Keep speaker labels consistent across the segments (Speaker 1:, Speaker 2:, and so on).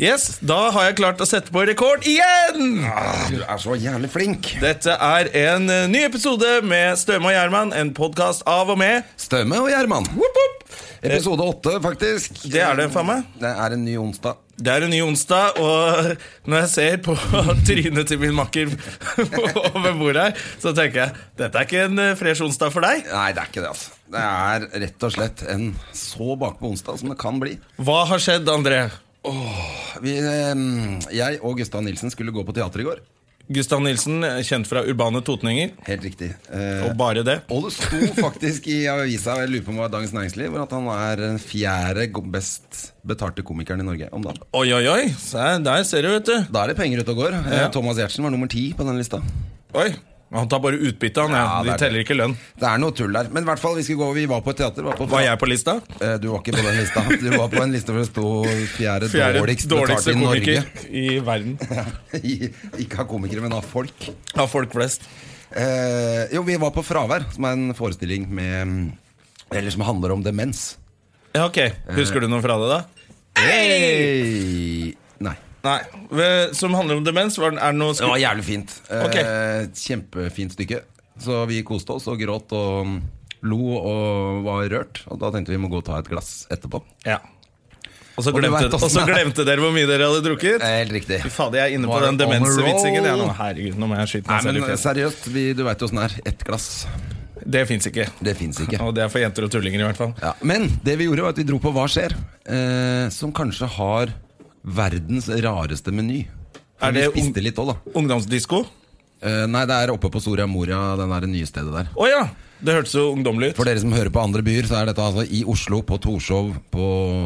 Speaker 1: Yes, Da har jeg klart å sette på rekord igjen!
Speaker 2: Ah, Du er så jævlig flink.
Speaker 1: Dette er en eh, ny episode med Støme og Gjerman, en podkast av og med.
Speaker 2: Støme og Gjerman.
Speaker 1: Woop, woop.
Speaker 2: Episode åtte, faktisk.
Speaker 1: Det er det, faen meg.
Speaker 2: Det er en ny onsdag.
Speaker 1: Det er en ny onsdag, og når jeg ser på trynet til min makker over bordet her, så tenker jeg dette er ikke en eh, fresh onsdag for deg.
Speaker 2: Nei, det er ikke det, altså. Det er rett og slett en så bakpå onsdag som det kan bli.
Speaker 1: Hva har skjedd, André?
Speaker 2: Vi, eh, jeg og Gustav Nilsen skulle gå på teater i går.
Speaker 1: Gustav Nilsen, eh, kjent fra Urbane Totninger,
Speaker 2: Helt riktig. Eh,
Speaker 1: og bare det.
Speaker 2: og det sto faktisk i avisa og jeg lurer på om det var Dagens Næringsliv, hvor at han er den fjerde go- best betalte komikeren i Norge om dagen.
Speaker 1: Oi, oi, oi. Se, der ser du, vet du.
Speaker 2: Da er det penger ute og går. Eh,
Speaker 1: Ja.
Speaker 2: Thomas Giertsen var nummer ti på den lista.
Speaker 1: Oi. Han tar bare utbytte, han.
Speaker 2: Ja,
Speaker 1: Ja.
Speaker 2: det er
Speaker 1: De
Speaker 2: det.
Speaker 1: teller ikke lønn.
Speaker 2: Det er noe tull der. Men i hvert fall, vi, skulle gå, vi var på et teater. Var på
Speaker 1: Var jeg på lista?
Speaker 2: Eh, Du var ikke på den lista. Du var på en liste hvor det sto fjerde,
Speaker 1: Fjerde
Speaker 2: dårligst betalt
Speaker 1: dårligste
Speaker 2: i Norge.
Speaker 1: komiker i verden.
Speaker 2: I- ikke av komikere, men av folk.
Speaker 1: Av folk flest.
Speaker 2: Eh, jo, vi var på Fravær, som er en forestilling med mm, Eller som handler om demens.
Speaker 1: Ja, ok. Husker du noe fra det, da?
Speaker 2: Hey! Nei.
Speaker 1: Nei. Ve- Som handler om demens? Var den, er det noe
Speaker 2: Det
Speaker 1: sku...
Speaker 2: var jævlig fint. Eh,
Speaker 1: Ok.
Speaker 2: Kjempefint stykke. Så vi koste oss og gråt og mm, lo og var rørt. Og da tenkte vi må gå og ta et glass etterpå.
Speaker 1: Ja. Og så
Speaker 2: Og du
Speaker 1: glemte,
Speaker 2: vet åssen
Speaker 1: og så
Speaker 2: det er.
Speaker 1: glemte dere hvor mye dere hadde drukket?
Speaker 2: Eh, Helt riktig.
Speaker 1: Fy fader, jeg er inne på
Speaker 2: Var
Speaker 1: den
Speaker 2: det on a
Speaker 1: demensvitsingen. jeg
Speaker 2: roll?
Speaker 1: nå. herregud, nå må jeg skyte
Speaker 2: Nei,
Speaker 1: meg selv i
Speaker 2: men eh,
Speaker 1: fjeset.
Speaker 2: seriøst, vi, du veit åssen det er. Ett glass.
Speaker 1: Det fins ikke.
Speaker 2: Det fins ikke.
Speaker 1: Og det er for jenter og tullinger, i hvert fall.
Speaker 2: Ja, men det vi gjorde var at vi dro på Hva skjer? Eh, som kanskje har verdens rareste meny. For
Speaker 1: Er det
Speaker 2: vi
Speaker 1: ung-
Speaker 2: spiste litt òg, da.
Speaker 1: Ungdomsdisko? Å
Speaker 2: Eh, nei, det er oppe på Soria Moria, det der nye stedet der.
Speaker 1: ja! Det hørtes jo ungdommelig ut.
Speaker 2: For dere som hører på andre byer, så er dette altså i Oslo, på Torshov, på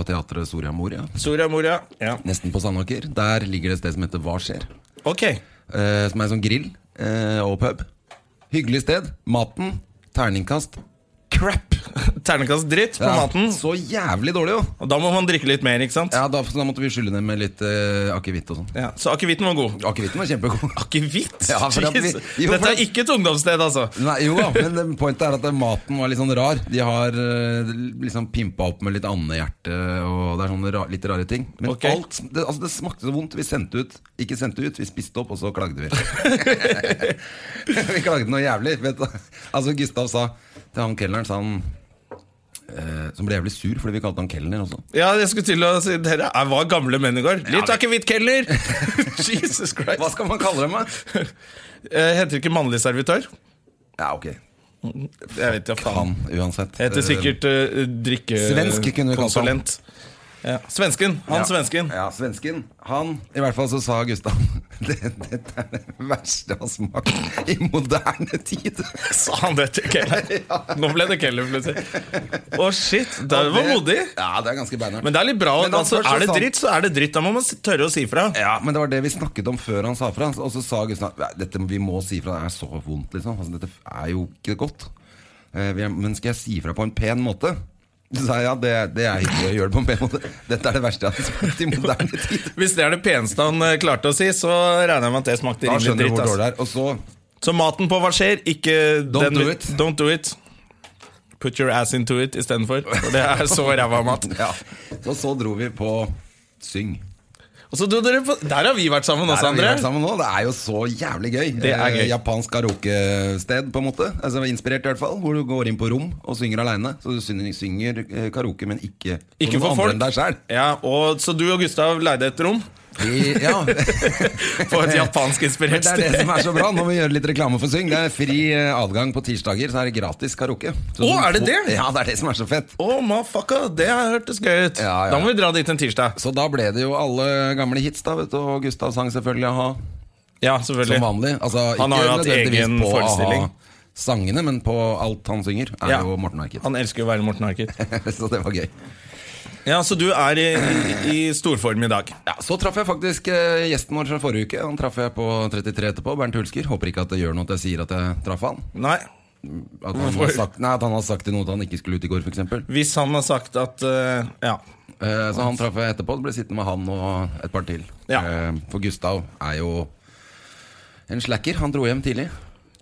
Speaker 2: teatret Soria Moria.
Speaker 1: Soria Moria. Ja.
Speaker 2: Nesten på Sandaker. Der ligger det et sted som heter Hva skjer?
Speaker 1: Ok.
Speaker 2: Eh, som er en sånn grill eh, og pub. Hyggelig sted. Maten, terningkast, crap!
Speaker 1: Ternekast dritt på
Speaker 2: Ja,
Speaker 1: maten.
Speaker 2: Så jævlig dårlig, jo!
Speaker 1: Og da må man drikke litt mer, ikke sant?
Speaker 2: Ja, da, så da måtte vi skylle ned med litt eh, akevitt og sånn.
Speaker 1: Ja, så akevitten var god.
Speaker 2: Akevitten var kjempegod.
Speaker 1: Akevitt?
Speaker 2: Ja, for at vi-
Speaker 1: Jeez.
Speaker 2: jo, for
Speaker 1: Dette
Speaker 2: at-
Speaker 1: er ikke et ungdomssted, altså.
Speaker 2: Nei, jo da, men det- pointet er at det- maten var litt sånn rar. De har eh, liksom pimpa opp med litt andehjerte og det er sånne ra litt rare ting. Men
Speaker 1: Ok.
Speaker 2: alt det, altså, det smakte så vondt. Vi sendte ut, ikke sendte ut, vi spiste opp, og så klagde vi. vi klagde noe jævlig. Vet du. Altså, Gustav sa til han kelneren, sa han eh, som ble jævlig sur fordi vi kalte han kelner også.
Speaker 1: Ja, jeg skulle til å si Dere er, var gamle menn i går. Litt
Speaker 2: vi-
Speaker 1: akevittkelner! Jesus Christ.
Speaker 2: Hva skal man kalle dem, da?
Speaker 1: Jeg heter ikke mannlig servitør.
Speaker 2: Ja, ok.
Speaker 1: Jeg vet ja, faen.
Speaker 2: Han, uansett.
Speaker 1: Jeg heter sikkert uh, drikke...
Speaker 2: Svensk kunne vi kalt han.
Speaker 1: konsulent. Ja. Svensken. Han svensken.
Speaker 2: Ja, svensken. Han I hvert fall så sa Gustav det, Dette er det verste jeg har smakt i moderne tid.
Speaker 1: Sa han det til Keller? Nå ble det Keller plutselig. Å, shit. Det var modig.
Speaker 2: Ja, det er ganske beinhardt.
Speaker 1: Men det er litt bra.
Speaker 2: Men han
Speaker 1: altså,
Speaker 2: først så
Speaker 1: er det
Speaker 2: sa han-
Speaker 1: dritt, så er det dritt. Da må man s- tørre å si fra.
Speaker 2: ja, men det var det vi snakket om før han sa fra. Og så sa Gustav "Nei, dette vi må si fra, det er så vondt, liksom. Altså, dette er jo ikke godt. Eh, vi er- Men skal jeg si fra på en pen måte? Så sa jeg ja, det, det er hyggelig å gjøre det på en pen måte. Dette er det verste jeg har smakt i moderne tid.
Speaker 1: Hvis det er det peneste han eh, klarte å si, så regner jeg med at det smakte
Speaker 2: Da
Speaker 1: rimelig
Speaker 2: skjønner du
Speaker 1: dritt.
Speaker 2: hvor
Speaker 1: Altså.
Speaker 2: dårlig det er. Og så
Speaker 1: Så maten på hva skjer, ikke
Speaker 2: Don't
Speaker 1: den,
Speaker 2: do it.
Speaker 1: Don't do it. Put your ass into it istedenfor. For det er så ræva mat.
Speaker 2: Ja. Så, så dro vi på Syng.
Speaker 1: Og så dro dere på Der har vi vært sammen
Speaker 2: Der
Speaker 1: også,
Speaker 2: har
Speaker 1: Altså,
Speaker 2: vi
Speaker 1: André.
Speaker 2: vært sammen nå. Det er jo så jævlig gøy.
Speaker 1: Det er
Speaker 2: Eh,
Speaker 1: gøy.
Speaker 2: Japansk karaokested, på en måte. Altså Inspirert, i hvert fall. Hvor du går inn på rom og synger aleine. Så du synger, synger eh, karaoke, men ikke,
Speaker 1: Ikke for
Speaker 2: noen
Speaker 1: folk.
Speaker 2: andre enn deg selv
Speaker 1: Ja, og Så du og Gustav leide et rom
Speaker 2: Vi- Ja.
Speaker 1: på et
Speaker 2: Men
Speaker 1: japanskinspirert
Speaker 2: det er det
Speaker 1: sted?
Speaker 2: som er så bra. Nå må vi gjøre litt reklame for Syng. Det er fri eh, adgang på tirsdager, så er det gratis karaoke.
Speaker 1: Å,
Speaker 2: Så du
Speaker 1: er det
Speaker 2: får-
Speaker 1: det?
Speaker 2: Ja, det er det som er så fett.
Speaker 1: Å, motherfucker, det har hørtes gøy ut.
Speaker 2: Ja, ja.
Speaker 1: Da må vi dra dit en tirsdag.
Speaker 2: Så da ble det jo alle gamle hits, da, vet du. Og Gustav sang selvfølgelig a-ha.
Speaker 1: Ja,
Speaker 2: Som
Speaker 1: selvfølgelig.
Speaker 2: vanlig. Altså,
Speaker 1: Han har
Speaker 2: ikke
Speaker 1: jo hatt
Speaker 2: nødvendigvis
Speaker 1: egen
Speaker 2: på
Speaker 1: forestilling.
Speaker 2: a-ha Sangene, men på alt han synger, er
Speaker 1: Ja.
Speaker 2: jo Morten Harket.
Speaker 1: Han elsker jo å være Morten Harket.
Speaker 2: Så det var gøy.
Speaker 1: Ja, så du er i, i, i storform i dag.
Speaker 2: Ja, Så traff jeg faktisk eh, gjesten vår fra forrige uke. Han traff jeg på 33 etterpå. Bernt Hulsker. Håper ikke at det gjør noe at jeg sier at jeg traff han.
Speaker 1: Nei.
Speaker 2: At han,
Speaker 1: Hvorfor?
Speaker 2: har sagt, nei, at han har sagt til noe han ikke skulle ut i går, f.eks.
Speaker 1: Hvis han har sagt at eh, Ja.
Speaker 2: Eh, så han traff jeg etterpå. Det ble sittende med han og et par til.
Speaker 1: Ja.
Speaker 2: Eh, for Gustav er jo en slacker. Han dro hjem tidlig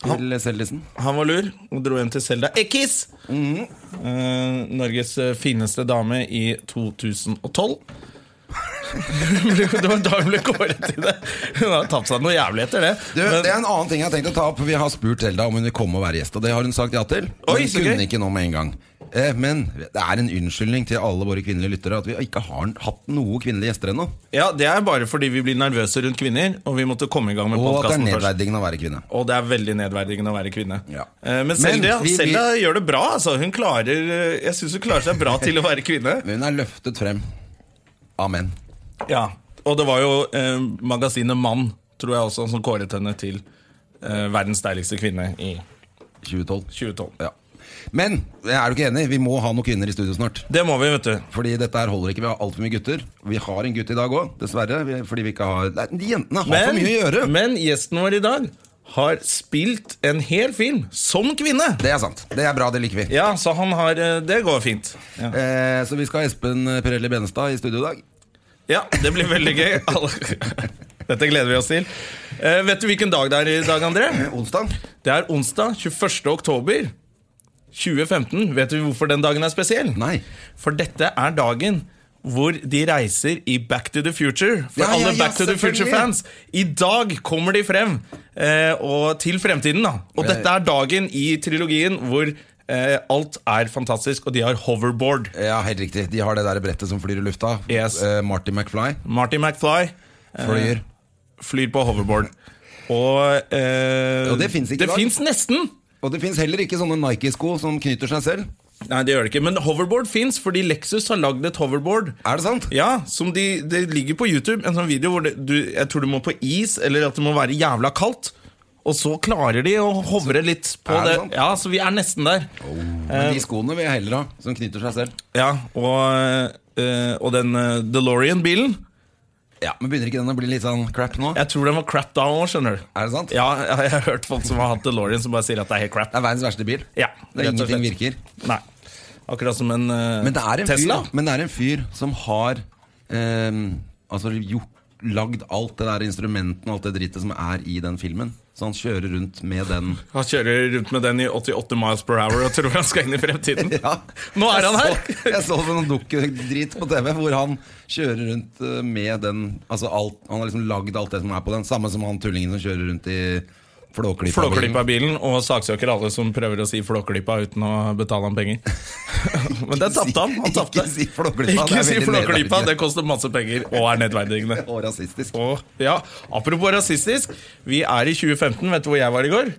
Speaker 2: til Seldisen.
Speaker 1: Han var lur og dro hjem til Selda Ekiz. Eh, Norges fineste dame i 2012. det var da hun ble kåret til det. Hun har tapt seg noe jævlig etter det.
Speaker 2: Du, det er en annen ting jeg har tenkt å ta opp. Vi har spurt Elda om hun vil komme og være gjest, og det har hun sagt ja til.
Speaker 1: Oi,
Speaker 2: Men
Speaker 1: så
Speaker 2: kunne
Speaker 1: gøy.
Speaker 2: ikke nå med en gang. Eh, Men det er en unnskyldning til alle våre kvinnelige lyttere at vi ikke har hatt noe kvinnelige gjester ennå.
Speaker 1: ja, det er bare fordi vi blir nervøse rundt kvinner, og vi måtte komme i gang med
Speaker 2: Og at det er
Speaker 1: podkasten først.
Speaker 2: nedverdigende å være kvinne.
Speaker 1: Og det er veldig nedverdigende å være kvinne.
Speaker 2: Ja.
Speaker 1: Eh, Men
Speaker 2: Men
Speaker 1: Selda
Speaker 2: vi- vi-
Speaker 1: Selda gjør det bra. Altså. Hun klarer, eh, jeg syns hun klarer seg bra til å være kvinne.
Speaker 2: Men hun er løftet frem av menn.
Speaker 1: Ja, og det var jo eh, magasinet Mann, tror jeg også, som kåret henne til eh, verdens deiligste kvinne i
Speaker 2: 2012.
Speaker 1: 2012.
Speaker 2: Ja. Men jeg er du ikke enig? Vi må ha noen kvinner i studio snart.
Speaker 1: Det må vi, vet du.
Speaker 2: Fordi dette her holder ikke. Vi har altfor mye gutter. Vi har en gutt i dag òg, dessverre. vi- Fordi vi ikke har Nei, De jentene har for mye å gjøre.
Speaker 1: men gjesten vår i dag har spilt en hel film som kvinne.
Speaker 2: Det er sant. Det er bra, det liker vi.
Speaker 1: Ja, så han har eh, Det går fint. Ja,
Speaker 2: Eh, så vi skal ha Espen Pirelli Benestad i studio i dag.
Speaker 1: ja det blir veldig gøy. Alle- Dette gleder vi oss til. Eh, vet du hvilken dag det er i dag, André?
Speaker 2: Onsdag.
Speaker 1: Det er onsdag 21. oktober 2015. Vet du hvorfor den dagen er spesiell?
Speaker 2: Nei.
Speaker 1: For dette er dagen hvor de reiser i Back to the Future. For
Speaker 2: Ja, ja,
Speaker 1: alle
Speaker 2: ja,
Speaker 1: Back to the
Speaker 2: selvfølgelig.
Speaker 1: Future-fans. I dag kommer de frem eh, og til fremtiden. da Og
Speaker 2: Ja.
Speaker 1: dette er dagen i trilogien hvor eh, alt er fantastisk, og de har hoverboard.
Speaker 2: Ja, helt riktig. De har det der brettet som flyr i lufta.
Speaker 1: Yes.
Speaker 2: Eh, Marty McFly
Speaker 1: Marty McFly eh,
Speaker 2: flyr.
Speaker 1: flyr på hoverboard. Og, eh,
Speaker 2: Og det finnes
Speaker 1: Det
Speaker 2: ikke i dag.
Speaker 1: fins nesten!
Speaker 2: Og det fins heller ikke sånne Nike-sko som knyter seg selv.
Speaker 1: Nei, det gjør det ikke. Men hoverboard fins, fordi Lexus har lagd et hoverboard.
Speaker 2: Er det sant?
Speaker 1: Ja, som de, det ligger på YouTube En sånn video hvor det, du, jeg tror du må på is Eller at det må være jævla kaldt Og så klarer de å hovre litt på
Speaker 2: Er det
Speaker 1: det,
Speaker 2: sant? Oh.
Speaker 1: Ja, så vi er nesten der
Speaker 2: Men de skoene vil jeg heller ha, som knyter seg selv.
Speaker 1: Ja, og, eh, og den eh, DeLorean-bilen
Speaker 2: Ja, Men begynner ikke den å bli litt sånn crap nå?
Speaker 1: Jeg tror den var crap da også, skjønner du
Speaker 2: Er det sant?
Speaker 1: Ja, jeg har- jeg har hørt folk som har hatt DeLorean Som bare sier at det er helt crap
Speaker 2: Det er verdens verste bil.
Speaker 1: Ja,
Speaker 2: Det er
Speaker 1: rett og slett.
Speaker 2: ingenting virker.
Speaker 1: Nei, akkurat som en, eh,
Speaker 2: Men det er en
Speaker 1: Tesla
Speaker 2: fyr, men det er en fyr som har eh, altså gjort, lagd alt det der instrumenten og alt det drittet som er i den filmen. Så han kjører rundt med den.
Speaker 1: Han kjører rundt med den i 88 miles per hour Og tror han skal inn i fremtiden
Speaker 2: Ja.
Speaker 1: Nå er han her
Speaker 2: Jeg så, jeg så sånn dukkedrit på TV hvor han kjører rundt eh, med den altså alt, Han har liksom lagd alt det som er på den. Samme som han tullingen som kjører rundt i
Speaker 1: Flåklypa
Speaker 2: Flåklypa-bilen.
Speaker 1: i bilen og saksøker alle som prøver å si Flåklypa uten å betale han penger. Men der tapte han. han tapte.
Speaker 2: Ikke si Flåklypa, det er
Speaker 1: Ikke si
Speaker 2: veldig
Speaker 1: Flåklypa,
Speaker 2: nedverdigende.
Speaker 1: det koster masse penger og er nedverdigende.
Speaker 2: Og rasistisk.
Speaker 1: Og, ja, apropos rasistisk, vi er i 2015. Vet du hvor jeg var i går?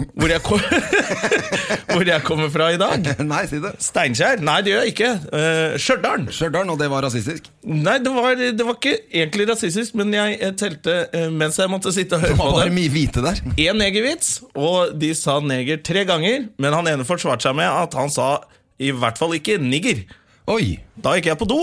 Speaker 1: Hvor jeg, kom, hvor jeg kommer fra i dag?
Speaker 2: Nei, si det.
Speaker 1: Steinkjer? Nei, det gjør jeg ikke. Eh, Stjørdal.
Speaker 2: Stjørdal, og det var rasistisk.
Speaker 1: Nei, det var, det var ikke egentlig rasistisk, men jeg eh, telte eh, mens jeg måtte sitte og høre
Speaker 2: Det
Speaker 1: på
Speaker 2: var
Speaker 1: det.
Speaker 2: bare mye hvite der.
Speaker 1: én negervits, og de sa neger tre ganger. Men han ene forsvarte seg med at han sa i hvert fall ikke nigger.
Speaker 2: Oi!
Speaker 1: Da gikk jeg på do.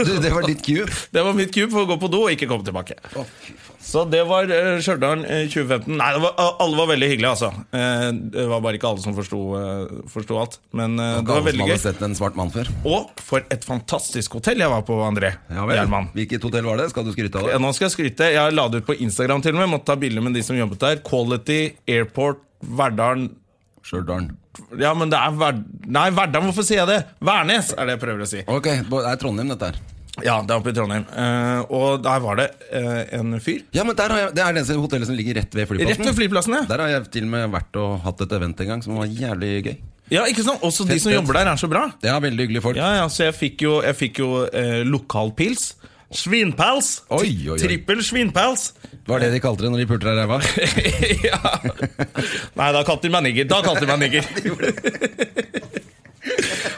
Speaker 2: Du, det var ditt cue.
Speaker 1: Det var mitt kub for å gå på do og ikke komme tilbake.
Speaker 2: Å, fy faen.
Speaker 1: Så det var uh, Stjørdal eh, 2015. Nei, det var, alle var veldig hyggelige, altså. Eh, det var bare ikke alle som forsto eh, forsto alt. Men eh, det var
Speaker 2: Alle som
Speaker 1: veldig
Speaker 2: hadde
Speaker 1: gøy.
Speaker 2: sett en svart mann før.
Speaker 1: Og for et fantastisk hotell jeg var på, André
Speaker 2: Ja vel.
Speaker 1: Gjerman.
Speaker 2: Hvilket hotell var det? Skal du skryte av
Speaker 1: Ja,
Speaker 2: det?
Speaker 1: nå skal jeg skryte. Jeg la det ut på Instagram til og med. Måtte ta bilder med de som jobbet der. Quality, Airport, Verdalen
Speaker 2: Stjørdal.
Speaker 1: Ja, men det er Verd... Nei, Verdal, hvorfor sier jeg det? Værnes er det jeg prøver å si.
Speaker 2: Ok, det er Trondheim, dette her.
Speaker 1: Ja, det er oppe i Trondheim. Eh, og der var det eh, en fyr.
Speaker 2: Ja, men der har jeg, Det er det eneste hotellet som ligger rett ved
Speaker 1: Rett
Speaker 2: flyplassen.
Speaker 1: ved flyplassen, ja.
Speaker 2: Der har jeg til og med vært og hatt et event en gang som var jævlig gøy.
Speaker 1: ja ikke sant? Også de
Speaker 2: Fett,
Speaker 1: som
Speaker 2: fett.
Speaker 1: jobber der, er så bra.
Speaker 2: Det er veldig hyggelige folk.
Speaker 1: Ja, ja, Så jeg fikk jo, jeg fikk jo eh, lokalpils. Svinpals!
Speaker 2: Oi, oi, oi.
Speaker 1: Trippel svinpals!
Speaker 2: Var det de kalte det når de pulte deg i ræva?
Speaker 1: ja. Nei, da kalte de meg nigger. Da kalte de meg nigger.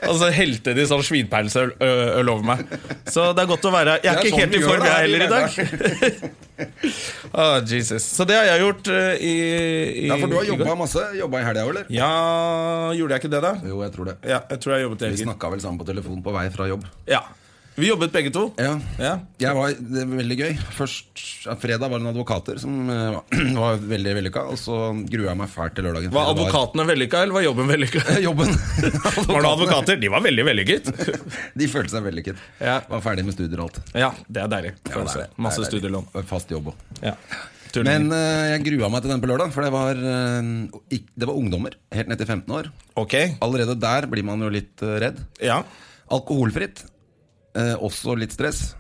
Speaker 1: Og så helte de sånn svinpelsøl ø- øl over meg. Så det er godt å være Jeg er,
Speaker 2: Det er
Speaker 1: ikke
Speaker 2: sånn
Speaker 1: helt
Speaker 2: vi
Speaker 1: i
Speaker 2: gjør
Speaker 1: form,
Speaker 2: det
Speaker 1: jeg
Speaker 2: her i
Speaker 1: heller, i dag. Ah, Jesus. Så det har jeg gjort ø, i, i
Speaker 2: Ja, for du har
Speaker 1: i går.
Speaker 2: jobba masse. Jobba i helga òg, eller?
Speaker 1: Ja, gjorde jeg ikke det, da?
Speaker 2: Jo, jeg tror det.
Speaker 1: Ja, jeg tror jeg jobbet i
Speaker 2: Vi
Speaker 1: helgen.
Speaker 2: snakka vel sammen på telefon på vei fra jobb.
Speaker 1: Ja. Vi jobbet begge to.
Speaker 2: Ja.
Speaker 1: Ja.
Speaker 2: Jeg var, det var veldig gøy. Først ja, Fredag var det noen advokater som eh, var veldig vellykka, og så grua jeg meg fælt til lørdagen.
Speaker 1: Var
Speaker 2: for det
Speaker 1: advokatene vellykka, eller var jobben vellykka?
Speaker 2: Jobben.
Speaker 1: Var det advokater? De var veldig vellykket.
Speaker 2: De følte seg vellykket.
Speaker 1: Ja.
Speaker 2: Var ferdig med studier og alt.
Speaker 1: Ja, det er deilig.
Speaker 2: Ja, det er det.
Speaker 1: Masse
Speaker 2: Det er deilig.
Speaker 1: studielån.
Speaker 2: Fast jobb òg.
Speaker 1: Ja.
Speaker 2: Men eh, jeg grua meg til den på lørdag, for det var, eh, ikk- det var ungdommer helt ned til 15 år.
Speaker 1: ok,
Speaker 2: Allerede der blir man jo litt eh, redd.
Speaker 1: ja.
Speaker 2: Alkoholfritt. eh, også litt stress.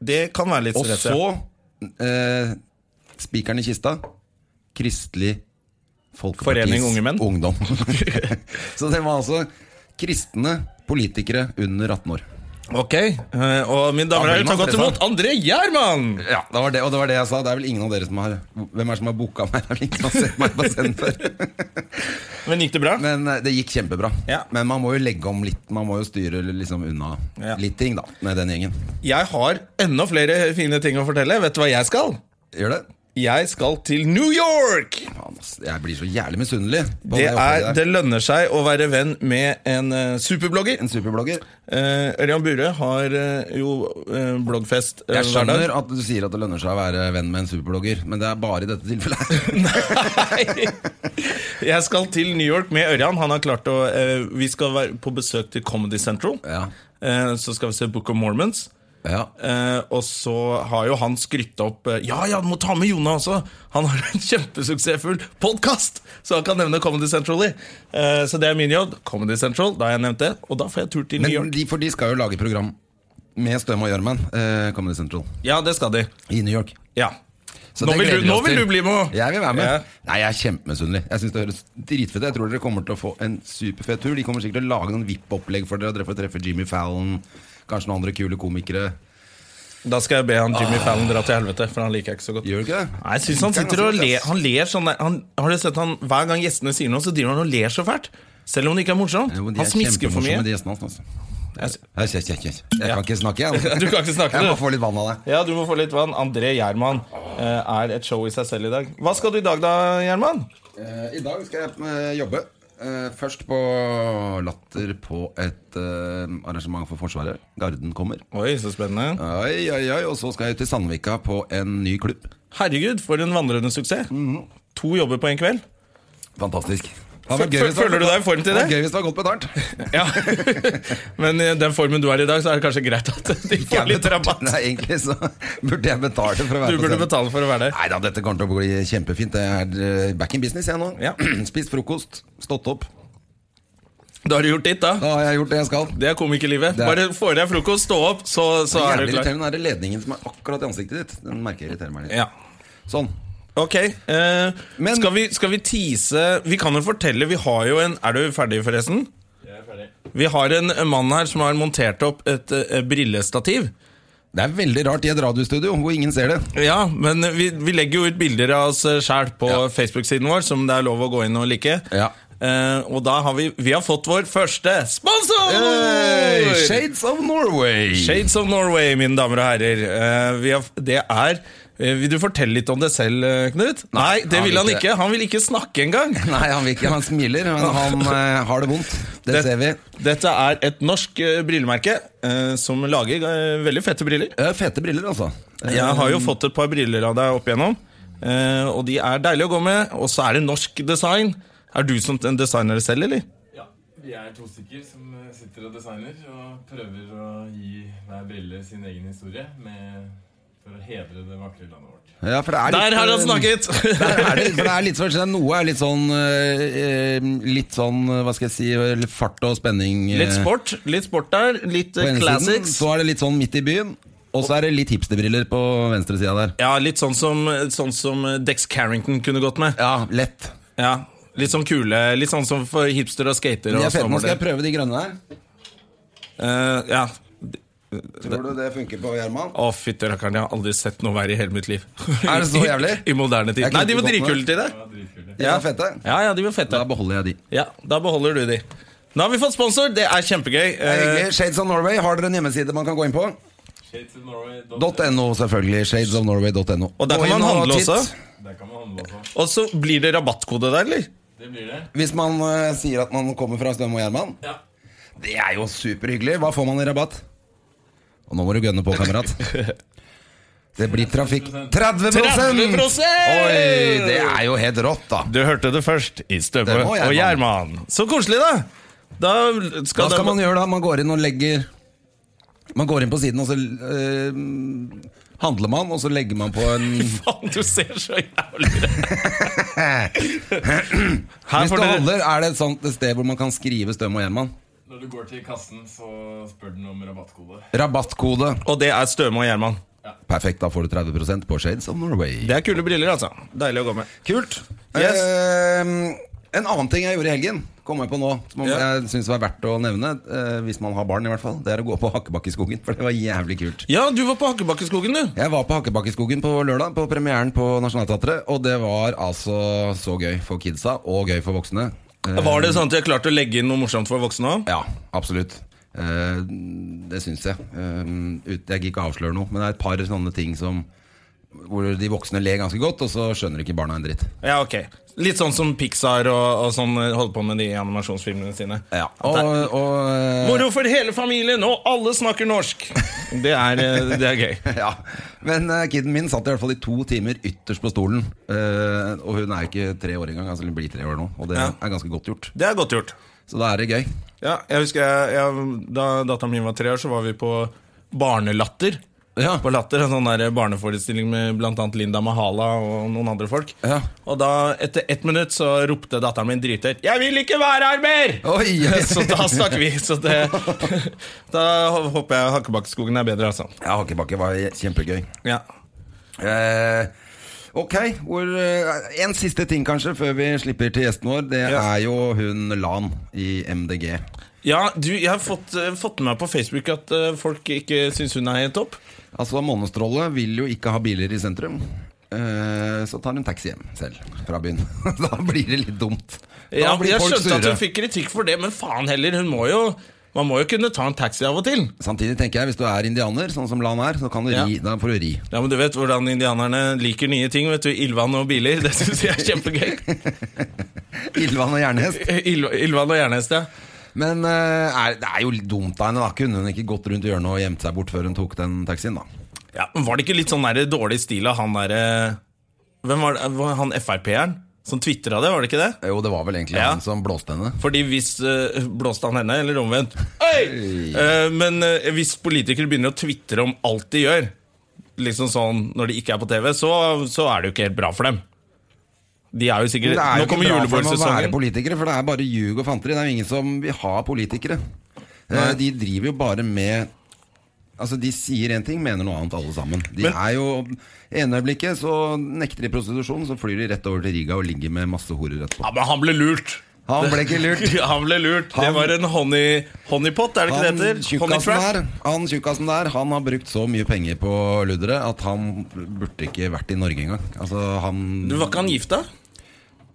Speaker 1: Det kan være litt
Speaker 2: Og
Speaker 1: stress.
Speaker 2: så eh, spikeren i kista. Kristelig Folkepartis
Speaker 1: Forening Unge Menn.
Speaker 2: Ungdom. så det var altså kristne politikere under 18 år.
Speaker 1: Ok, eh, og mine damer og
Speaker 2: Ja,
Speaker 1: herrer,
Speaker 2: blir
Speaker 1: ta
Speaker 2: man
Speaker 1: godt
Speaker 2: stressa?
Speaker 1: imot André Gjermann!
Speaker 2: Ja, det var det, og det var det jeg sa. Det er vel ingen av dere som har Hvem er det som har booka meg? Det er vel ingen som har sett meg på scenen før.
Speaker 1: Men gikk det bra?
Speaker 2: Men eh, det gikk kjempebra.
Speaker 1: Ja.
Speaker 2: Men man må jo legge om litt. Man må jo styre liksom unna
Speaker 1: Ja.
Speaker 2: litt ting, da, med den gjengen.
Speaker 1: Jeg har enda flere fine ting å fortelle. Vet du hva jeg skal?
Speaker 2: Gjør det?
Speaker 1: Jeg skal til New York!
Speaker 2: Faen, ass. Jeg blir så jævlig misunnelig. på
Speaker 1: Det, er,
Speaker 2: opplegget der.
Speaker 1: det lønner seg å være venn med en eh, superblogger.
Speaker 2: En superblogger.
Speaker 1: Eh, Ørjan Bure har eh, jo eh, bloggfest eh,
Speaker 2: Jeg
Speaker 1: hver dag.
Speaker 2: skjønner at du sier at det lønner seg å være venn med en superblogger, men det er bare i dette tilfellet.
Speaker 1: Nei. Jeg skal til New York med Ørjan. Han har klart å eh, Vi skal være på besøk til Comedy Central.
Speaker 2: Ja.
Speaker 1: Eh, så skal vi se Book of Mormons.
Speaker 2: Ja.
Speaker 1: Eh, og så har jo han skrytta opp eh, Ja, ja, du må ta med Jona også! Han har en kjempesuksessfull podkast! Så han kan nevne Comedy Central i. Eh, så det er min jobb. Comedy Central, da har jeg nevnt det. Og da får jeg tur til New
Speaker 2: Men
Speaker 1: York.
Speaker 2: de, for de skal jo lage program med Støm og Gjørmen, eh, Comedy Central,
Speaker 1: Ja, det skal de.
Speaker 2: i New York.
Speaker 1: Ja.
Speaker 2: Så
Speaker 1: Nå
Speaker 2: det
Speaker 1: vil
Speaker 2: gleder
Speaker 1: du-
Speaker 2: vi oss
Speaker 1: nå vil
Speaker 2: til.
Speaker 1: du bli med.
Speaker 2: Jeg vil være med.
Speaker 1: Ja.
Speaker 2: Nei, Jeg er kjempemisunnelig. Jeg synes det høres dritfett ut. Jeg tror dere kommer til å få en superfet tur. De kommer sikkert til å lage noen VIP-opplegg for dere. Dere får treffe Jimmy Fallon, kanskje noen andre kule komikere.
Speaker 1: Da skal jeg be han Jimmy
Speaker 2: Ah.
Speaker 1: Fallon dra til helvete, for han liker jeg ikke så godt.
Speaker 2: Gjør du ikke det? altså.
Speaker 1: Nei, jeg synes han sitter og ler, han ler sånn der han, Har du sett han, hver gang gjestene sier noe Så driver han og ler så fælt Selv om det ikke er morsomt
Speaker 2: Jo, men de
Speaker 1: Han
Speaker 2: er
Speaker 1: smisker for
Speaker 2: kjempemorsomme,
Speaker 1: mye
Speaker 2: de gjestene hans, altså.
Speaker 1: Jeg-
Speaker 2: Jeg, jeg, jeg, jeg, jeg kan ikke snakke, jeg. altså.
Speaker 1: Du kan ikke snakke,
Speaker 2: Jeg
Speaker 1: du.
Speaker 2: må få litt vann av deg.
Speaker 1: Ja, du må få litt vann André Gjermann eh, er et show i seg selv i dag Hva skal du i dag da, Gjermann?
Speaker 2: Eh, I dag skal jeg eh, jobbe. Eh, først på Latter på et eh, arrangement for Forsvaret. Garden kommer.
Speaker 1: Oi, så spennende
Speaker 2: Oi, oi, oi. Og så skal jeg ut til Sandvika på en ny klubb.
Speaker 1: Herregud, for en vandrende suksess To jobber på en kveld
Speaker 2: Fantastisk.
Speaker 1: Fø- fø- føler du deg i form til det?
Speaker 2: Gøy hvis det var godt betalt.
Speaker 1: Ja Men i den formen du er i dag Så er det kanskje greit at de får litt rabatt
Speaker 2: Nei, altså- egentlig så burde jeg betale for å være
Speaker 1: Du burde
Speaker 2: på scenen.
Speaker 1: betale for å være der
Speaker 2: Nei da, dette kommer til å bli kjempefint. Jeg er eh, back in business, jeg nå.
Speaker 1: Ja.
Speaker 2: Spist frokost, stått opp.
Speaker 1: Da har du gjort ditt da
Speaker 2: Da har jeg gjort det jeg skal.
Speaker 1: Det er komikerlivet
Speaker 2: Det er-
Speaker 1: Bare får deg frokost, stå opp Så, så er du
Speaker 2: Jævlig
Speaker 1: klar
Speaker 2: irriterende er det ledningen som er akkurat i ansiktet ditt. Den merker jeg irriterer meg litt.
Speaker 1: Ja
Speaker 2: Sånn.
Speaker 1: Ok, eh,
Speaker 2: Men-
Speaker 1: skal, vi, skal vi tease Vi kan jo fortelle, vi har jo en Er du ferdig forresten? Vi har en mann her som har montert opp et eh, brillestativ
Speaker 2: Det er veldig rart i et radiostudio hvor ingen ser det.
Speaker 1: Ja, men vi, vi legger jo ut bilder av oss eh, selv på
Speaker 2: Ja.
Speaker 1: Facebook-siden vår Som det er lov å gå inn og like
Speaker 2: Ja.
Speaker 1: Eh, Og da har vi, vi har fått vår første sponsor!
Speaker 2: Hey, Shades of Norway!
Speaker 1: Shades of Norway, mine damer og herrer. Eh, vi har, det er eh, Vil du fortelle litt om det selv, eh, Knut? Nei, det
Speaker 2: han
Speaker 1: vil han
Speaker 2: vil ikke.
Speaker 1: ikke. Han vil ikke snakke engang.
Speaker 2: Nei, han vil ikke. Han smiler, men han eh, har det vondt. Det, ser vi.
Speaker 1: Dette er et norsk eh, brillemerke eh, som lager eh, veldig fette briller.
Speaker 2: Eh, Fete briller, altså.
Speaker 1: Jeg har jo fått et par briller av deg opp igjennom, eh, og de er deilige å gå med. Og så er det norsk design. Er du som en designer selv, eller?
Speaker 3: Ja, vi er to stykker som eh, sitter og designer og prøver å gi hver brille sin egen historie med, for å hedre det vakre landet vårt.
Speaker 2: Ja, for det er litt,
Speaker 1: Der har han
Speaker 2: eh,
Speaker 1: snakket!
Speaker 2: Der er det, for det er litt sånn, Noe er litt sånn eh, eh, Litt sånn, hva skal jeg si eh, Fart og spenning eh,
Speaker 1: Litt sport litt sport der. Litt
Speaker 2: på
Speaker 1: eh,
Speaker 2: ene siden,
Speaker 1: classics.
Speaker 2: Så er det litt sånn midt i byen Og så er det litt hipsterbriller på venstre siden der
Speaker 1: Ja, litt sånn som, sånn som Dex Carrington kunne gått med.
Speaker 2: Ja, lett
Speaker 1: Ja, Litt sånn kule, litt sånn som for hipster og skater.
Speaker 2: De
Speaker 1: Og
Speaker 2: er fete, nå skal
Speaker 1: snowboarder.
Speaker 2: jeg prøve de grønne der
Speaker 1: Eh, ja.
Speaker 2: Tror du det funker på Gjermann?
Speaker 1: Å, fytti rakkeren, jeg har aldri sett noe verre i hele mitt liv.
Speaker 2: Er det så jævlig?
Speaker 1: I, i moderne tid.
Speaker 2: Jeg kunne
Speaker 1: Nei, de var
Speaker 2: ikke gått
Speaker 1: dritkule
Speaker 2: med.
Speaker 1: til det.
Speaker 3: Ja, dritkule.
Speaker 2: De
Speaker 1: Ja.
Speaker 2: er fete
Speaker 1: Ja, ja, de var fete.
Speaker 2: Da beholder jeg de
Speaker 1: Ja, Da beholder du de. Nå har vi fått sponsor, det er kjempegøy.
Speaker 2: Det er
Speaker 1: Eh,
Speaker 2: hyggelig. Shades of Norway, har dere en hjemmeside man kan gå inn på?
Speaker 3: Shadesofnorway.no.
Speaker 2: .no selvfølgelig, shadesofnorway.no
Speaker 1: Og der
Speaker 2: Gå
Speaker 1: kan man
Speaker 2: inn
Speaker 1: handle
Speaker 2: titt.
Speaker 1: også.
Speaker 3: Der kan man handle også.
Speaker 1: og så blir det rabattkode der, eller?
Speaker 3: Det blir det.
Speaker 2: Hvis man eh, sier at man kommer fra Støm og Gjermann
Speaker 3: Ja.
Speaker 2: Det er jo superhyggelig. Hva får man i rabatt? Og nå må du gønne på, kamerat. Det blir trafikk 30
Speaker 1: 30
Speaker 2: Oi, det er jo helt rått, da.
Speaker 1: Du hørte det først i Støve
Speaker 2: Det må jeg,
Speaker 1: og
Speaker 2: mann.
Speaker 1: Gjerman. Så koselig, da! Da skal,
Speaker 2: Hva skal
Speaker 1: det-
Speaker 2: man gjøre da? Man går inn og legger Man går inn på siden, og så eh, handler man, og så legger man på en
Speaker 1: Faen, du ser så jævlig ut. Her
Speaker 2: Hvis
Speaker 1: får
Speaker 2: du
Speaker 1: dere
Speaker 2: handler, er det et sånt sted hvor man kan skrive Støm og Gjerman?
Speaker 3: Når du du går til kassen, så spør den om rabattkode.
Speaker 2: Rabattkode.
Speaker 1: Og det er Støme og Gjerman.
Speaker 2: Perfekt, da får du 30 på Shades of Norway.
Speaker 1: Det er kule briller, altså. Deilig å gå med.
Speaker 2: Kult.
Speaker 1: Yes.
Speaker 2: Eh, en annen ting jeg gjorde i helgen, kom jeg på nå, som om
Speaker 1: Ja.
Speaker 2: jeg syns var verdt å nevne, eh, hvis man har barn i hvert fall, det er å gå på Hakkebakkeskogen. For det var jævlig kult.
Speaker 1: Ja, du var på Hakkebakkeskogen, du.
Speaker 2: Jeg var på Hakkebakkeskogen på lørdag, på premieren på Nationaltheatret, og det var altså så gøy for kidsa, og gøy for voksne. Eh,
Speaker 1: Var det sånn at jeg klarte å legge inn noe morsomt for voksne òg?
Speaker 2: Ja, absolutt. Eh, det syns jeg. Eh, ut, jeg gikk ikke avsløre noe, men det er et par sånne ting som hvor de voksne ler ganske godt, og så skjønner ikke barna en dritt.
Speaker 1: Ja, ok. Litt sånn som Pixar og, og sånn eh, holder på med de animasjonsfilmene sine.
Speaker 2: Og, og, eh,
Speaker 1: Moro for hele familien, og alle snakker norsk! Det er, eh, det er gøy.
Speaker 2: ja. Men uh, kiden min satt i hvert fall i to timer ytterst på stolen. Eh, og hun er jo ikke tre år engang, altså hun blir tre år nå. Og det
Speaker 1: Ja.
Speaker 2: er ganske godt gjort.
Speaker 1: Det er godt gjort.
Speaker 2: Så da er det gøy.
Speaker 1: Ja, jeg husker jeg, jeg, Da datteren min var tre år, så var vi på Barnelatter.
Speaker 2: Ja.
Speaker 1: På Latter, En sånn der barneforestilling med bl.a. Linda Mahala og noen andre folk.
Speaker 2: Ja.
Speaker 1: Og da, etter ett minutt, så ropte datteren min drithøyt 'Jeg vil ikke være her mer!'
Speaker 2: Oi!
Speaker 1: Så da stakk vi. Så det, da håper jeg Hakkebakkeskogen er bedre, altså.
Speaker 2: Ja, Hakebakke var kjempegøy.
Speaker 1: Ja.
Speaker 2: Eh, ok, hvor, eh, en siste ting kanskje før vi slipper til gjesten vår. Det
Speaker 1: Ja.
Speaker 2: er jo hun Lan i MDG.
Speaker 1: Ja, du, Jeg har fått, eh, fått med meg på Facebook at eh, folk ikke syns hun er helt topp.
Speaker 2: Altså, Månestråle vil jo ikke ha biler i sentrum. Eh, Så tar hun taxi hjem selv fra byen. Da blir det litt dumt. Da
Speaker 1: Ja,
Speaker 2: blir
Speaker 1: jeg
Speaker 2: folk
Speaker 1: skjønte at
Speaker 2: sure.
Speaker 1: hun fikk kritikk for det, men faen heller, hun må jo man må jo kunne ta en taxi av og til.
Speaker 2: Samtidig tenker jeg, hvis du er indianer, sånn som Lan er, så kan du
Speaker 1: Ja.
Speaker 2: ri. Da får du ri.
Speaker 1: Ja, men Du vet hvordan indianerne liker nye ting. vet du, Ildvann og biler. Det syns jeg er kjempegøy.
Speaker 2: Ildvann og jernhest.
Speaker 1: Ild, ildvann og jernhest, ja.
Speaker 2: Men eh, er, det er jo litt dumt av henne, da. Kunne hun ikke gått rundt hjørnet og gjemt seg bort før hun tok den taxien, da?
Speaker 1: ja. men Var det ikke litt sånn der, dårlig stil av han derre Hvem var det? Var han Frp-eren som tvitra det, var det ikke det?
Speaker 2: Jo, det var vel egentlig
Speaker 1: Ja.
Speaker 2: han som blåste henne.
Speaker 1: Fordi hvis eh, Blåste han henne, eller omvendt? Oi! Eh, men eh, hvis politikere begynner å tvitre om alt de gjør, liksom sånn når de ikke er på TV, så, så er det jo ikke helt bra for dem. De er jo
Speaker 2: Men
Speaker 1: sikkert
Speaker 2: Det er
Speaker 1: Nå
Speaker 2: jo
Speaker 1: kommer
Speaker 2: ikke bra for dem å være
Speaker 1: julebordsesongen.
Speaker 2: politikere, for det er bare ljug og fanteri. Det er jo ingen som vil ha politikere. Eh, De driver jo bare med Altså, De sier én ting, mener noe annet alle sammen. De er jo ene øyeblikket så nekter de prostitusjon, så flyr de rett over til Riga og ligger med masse horer etterpå.
Speaker 1: Ja, men han ble lurt!
Speaker 2: Han ble ikke lurt.
Speaker 1: han ble lurt. det
Speaker 2: Han-
Speaker 1: var en honey, honeypot, er det ikke
Speaker 2: Han
Speaker 1: det heter? Honey
Speaker 2: tjukkasen
Speaker 1: trap.
Speaker 2: der, han tjukkasen der Han har brukt så mye penger på luddere at han burde ikke vært i Norge engang. Altså, han
Speaker 1: Du, Var ikke han gift, da?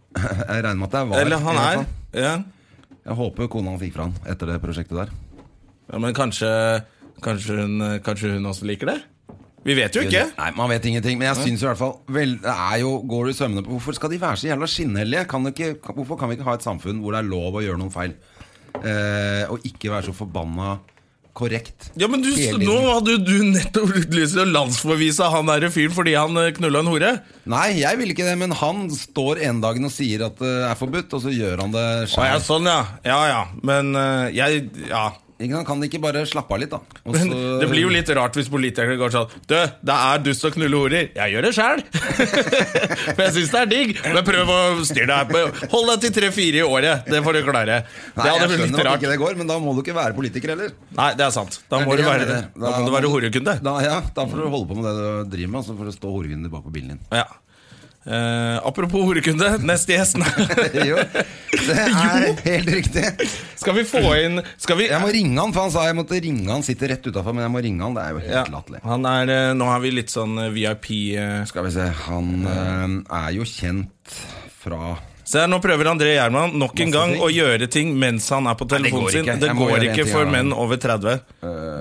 Speaker 2: Jeg regner med at det er var.
Speaker 1: Eller han
Speaker 2: i
Speaker 1: er?
Speaker 2: hvert fall.
Speaker 1: Ja.
Speaker 2: Jeg håper kona hans gikk fra han etter det prosjektet der.
Speaker 1: ja, men kanskje Kanskje hun, kanskje hun også liker det? Vi vet jo ikke.
Speaker 2: Nei, Man vet ingenting. Men jeg syns i hvert fall vel, det er jo, Går du sømmende på Hvorfor skal de være så jævla skinnhellige? Kan det ikke, kan- hvorfor kan vi ikke ha et samfunn hvor det er lov å gjøre noen feil? Eh, og ikke være så forbanna korrekt.
Speaker 1: Ja, men du,
Speaker 2: hele tiden.
Speaker 1: Nå hadde jo du nettopp lyst til å landsforvise han der fyren fordi han eh, knulla en hore.
Speaker 2: Nei, jeg vil ikke det, men han står en dagen og sier at det er forbudt, og så gjør han det
Speaker 1: Å, ja,
Speaker 2: sjøl.
Speaker 1: sånn, ja. Ja, ja. Men eh, jeg Ja.
Speaker 2: Kan de ikke bare slappe av litt, da? Og
Speaker 1: Men
Speaker 2: så-
Speaker 1: det blir jo litt rart hvis politikere går sånn Du, det er dust å knulle horer. Jeg gjør det sjæl! For jeg syns det er digg. Men prøv å styre deg. på- Hold deg til tre-fire i året. Det får du klare.
Speaker 2: Nei,
Speaker 1: Det hadde
Speaker 2: jeg
Speaker 1: vært
Speaker 2: skjønner
Speaker 1: litt
Speaker 2: at
Speaker 1: rart.
Speaker 2: ikke det går, men da må du ikke være politiker heller.
Speaker 1: Nei, det er sant. Da
Speaker 2: Det er
Speaker 1: må
Speaker 2: det
Speaker 1: du
Speaker 2: jeg
Speaker 1: være,
Speaker 2: mener.
Speaker 1: da må du være horekunde.
Speaker 2: Da, ja, da får du holde på med det du driver med, og så får du stå horegunde bak på bilen din.
Speaker 1: Ja. Eh, apropos horekunde, neste gjest.
Speaker 2: jo, det er helt riktig.
Speaker 1: Skal vi få inn Skal vi
Speaker 2: Jeg må ringe han, for han sa jeg måtte ringe han. Sitter rett utafor, men jeg må ringe han. Det er jo helt
Speaker 1: Ja,
Speaker 2: latterlig.
Speaker 1: han er, eh, nå har vi litt sånn eh, VIP eh.
Speaker 2: Skal vi se. Han eh, er jo kjent fra
Speaker 1: Se her, Nå prøver André Gjerman nok en
Speaker 2: Masse
Speaker 1: gang
Speaker 2: ting.
Speaker 1: å gjøre ting mens han er på telefonen
Speaker 2: går
Speaker 1: sin.
Speaker 2: ikke.
Speaker 1: Det
Speaker 2: Jeg må
Speaker 1: går
Speaker 2: gjøre en
Speaker 1: ikke
Speaker 2: ting
Speaker 1: for
Speaker 2: av Eh.
Speaker 1: menn
Speaker 2: gangen.
Speaker 1: over 30.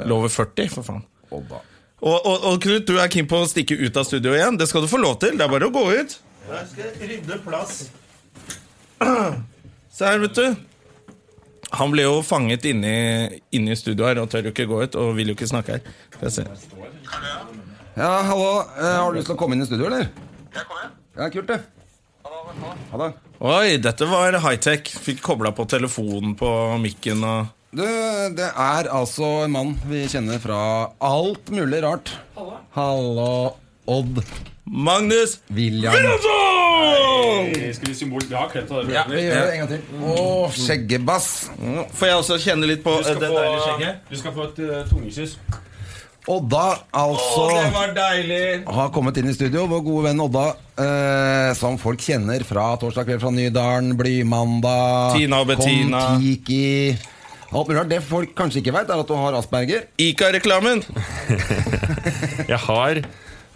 Speaker 1: Eller over 40, for faen.
Speaker 2: Odda.
Speaker 1: Og, og, og Knut, du er keen på å stikke ut av studio igjen. Det skal du få lov til. Det er bare å gå ut. Jeg skal rydde plass. Se her, vet du. Han ble jo fanget inne i- inne i studio her og tør jo ikke gå ut og vil jo ikke snakke her. Skal jeg se.
Speaker 2: Ja, hallo. eh, har du lyst til å komme inn i studio, eller?
Speaker 4: Jeg kommer hjem.
Speaker 2: Ja, kult, det. Ha det.
Speaker 1: Oi, dette var high-tech. Fikk kobla på telefonen på mikken og
Speaker 2: Du, det er altså en mann vi kjenner fra alt mulig rart. Hallo. Odd
Speaker 1: Magnus
Speaker 2: William.
Speaker 1: Wilhelmsen!
Speaker 4: Vi skulle symbol... Vi har klemt av det.
Speaker 1: Ja,
Speaker 4: programmet.
Speaker 2: Vi gjør det en gang til. Å, skjeggebass!
Speaker 1: Får jeg også kjenne litt på
Speaker 4: Du
Speaker 1: eh,
Speaker 4: skal
Speaker 1: det
Speaker 4: få-
Speaker 1: deilige skjegget?
Speaker 4: Du skal få et eh, tungekyss.
Speaker 2: Og da, altså
Speaker 1: var deilig!
Speaker 2: har kommet inn i studio, vår gode venn Odda, eh, som folk kjenner fra torsdag kveld fra Nydalen, Blymandag,
Speaker 1: Tina og Bettina.
Speaker 2: Kon-Tiki Alt mulig rart. Det folk kanskje ikke veit, er at du har Asperger.
Speaker 1: Ica-reklamen!
Speaker 5: Jeg har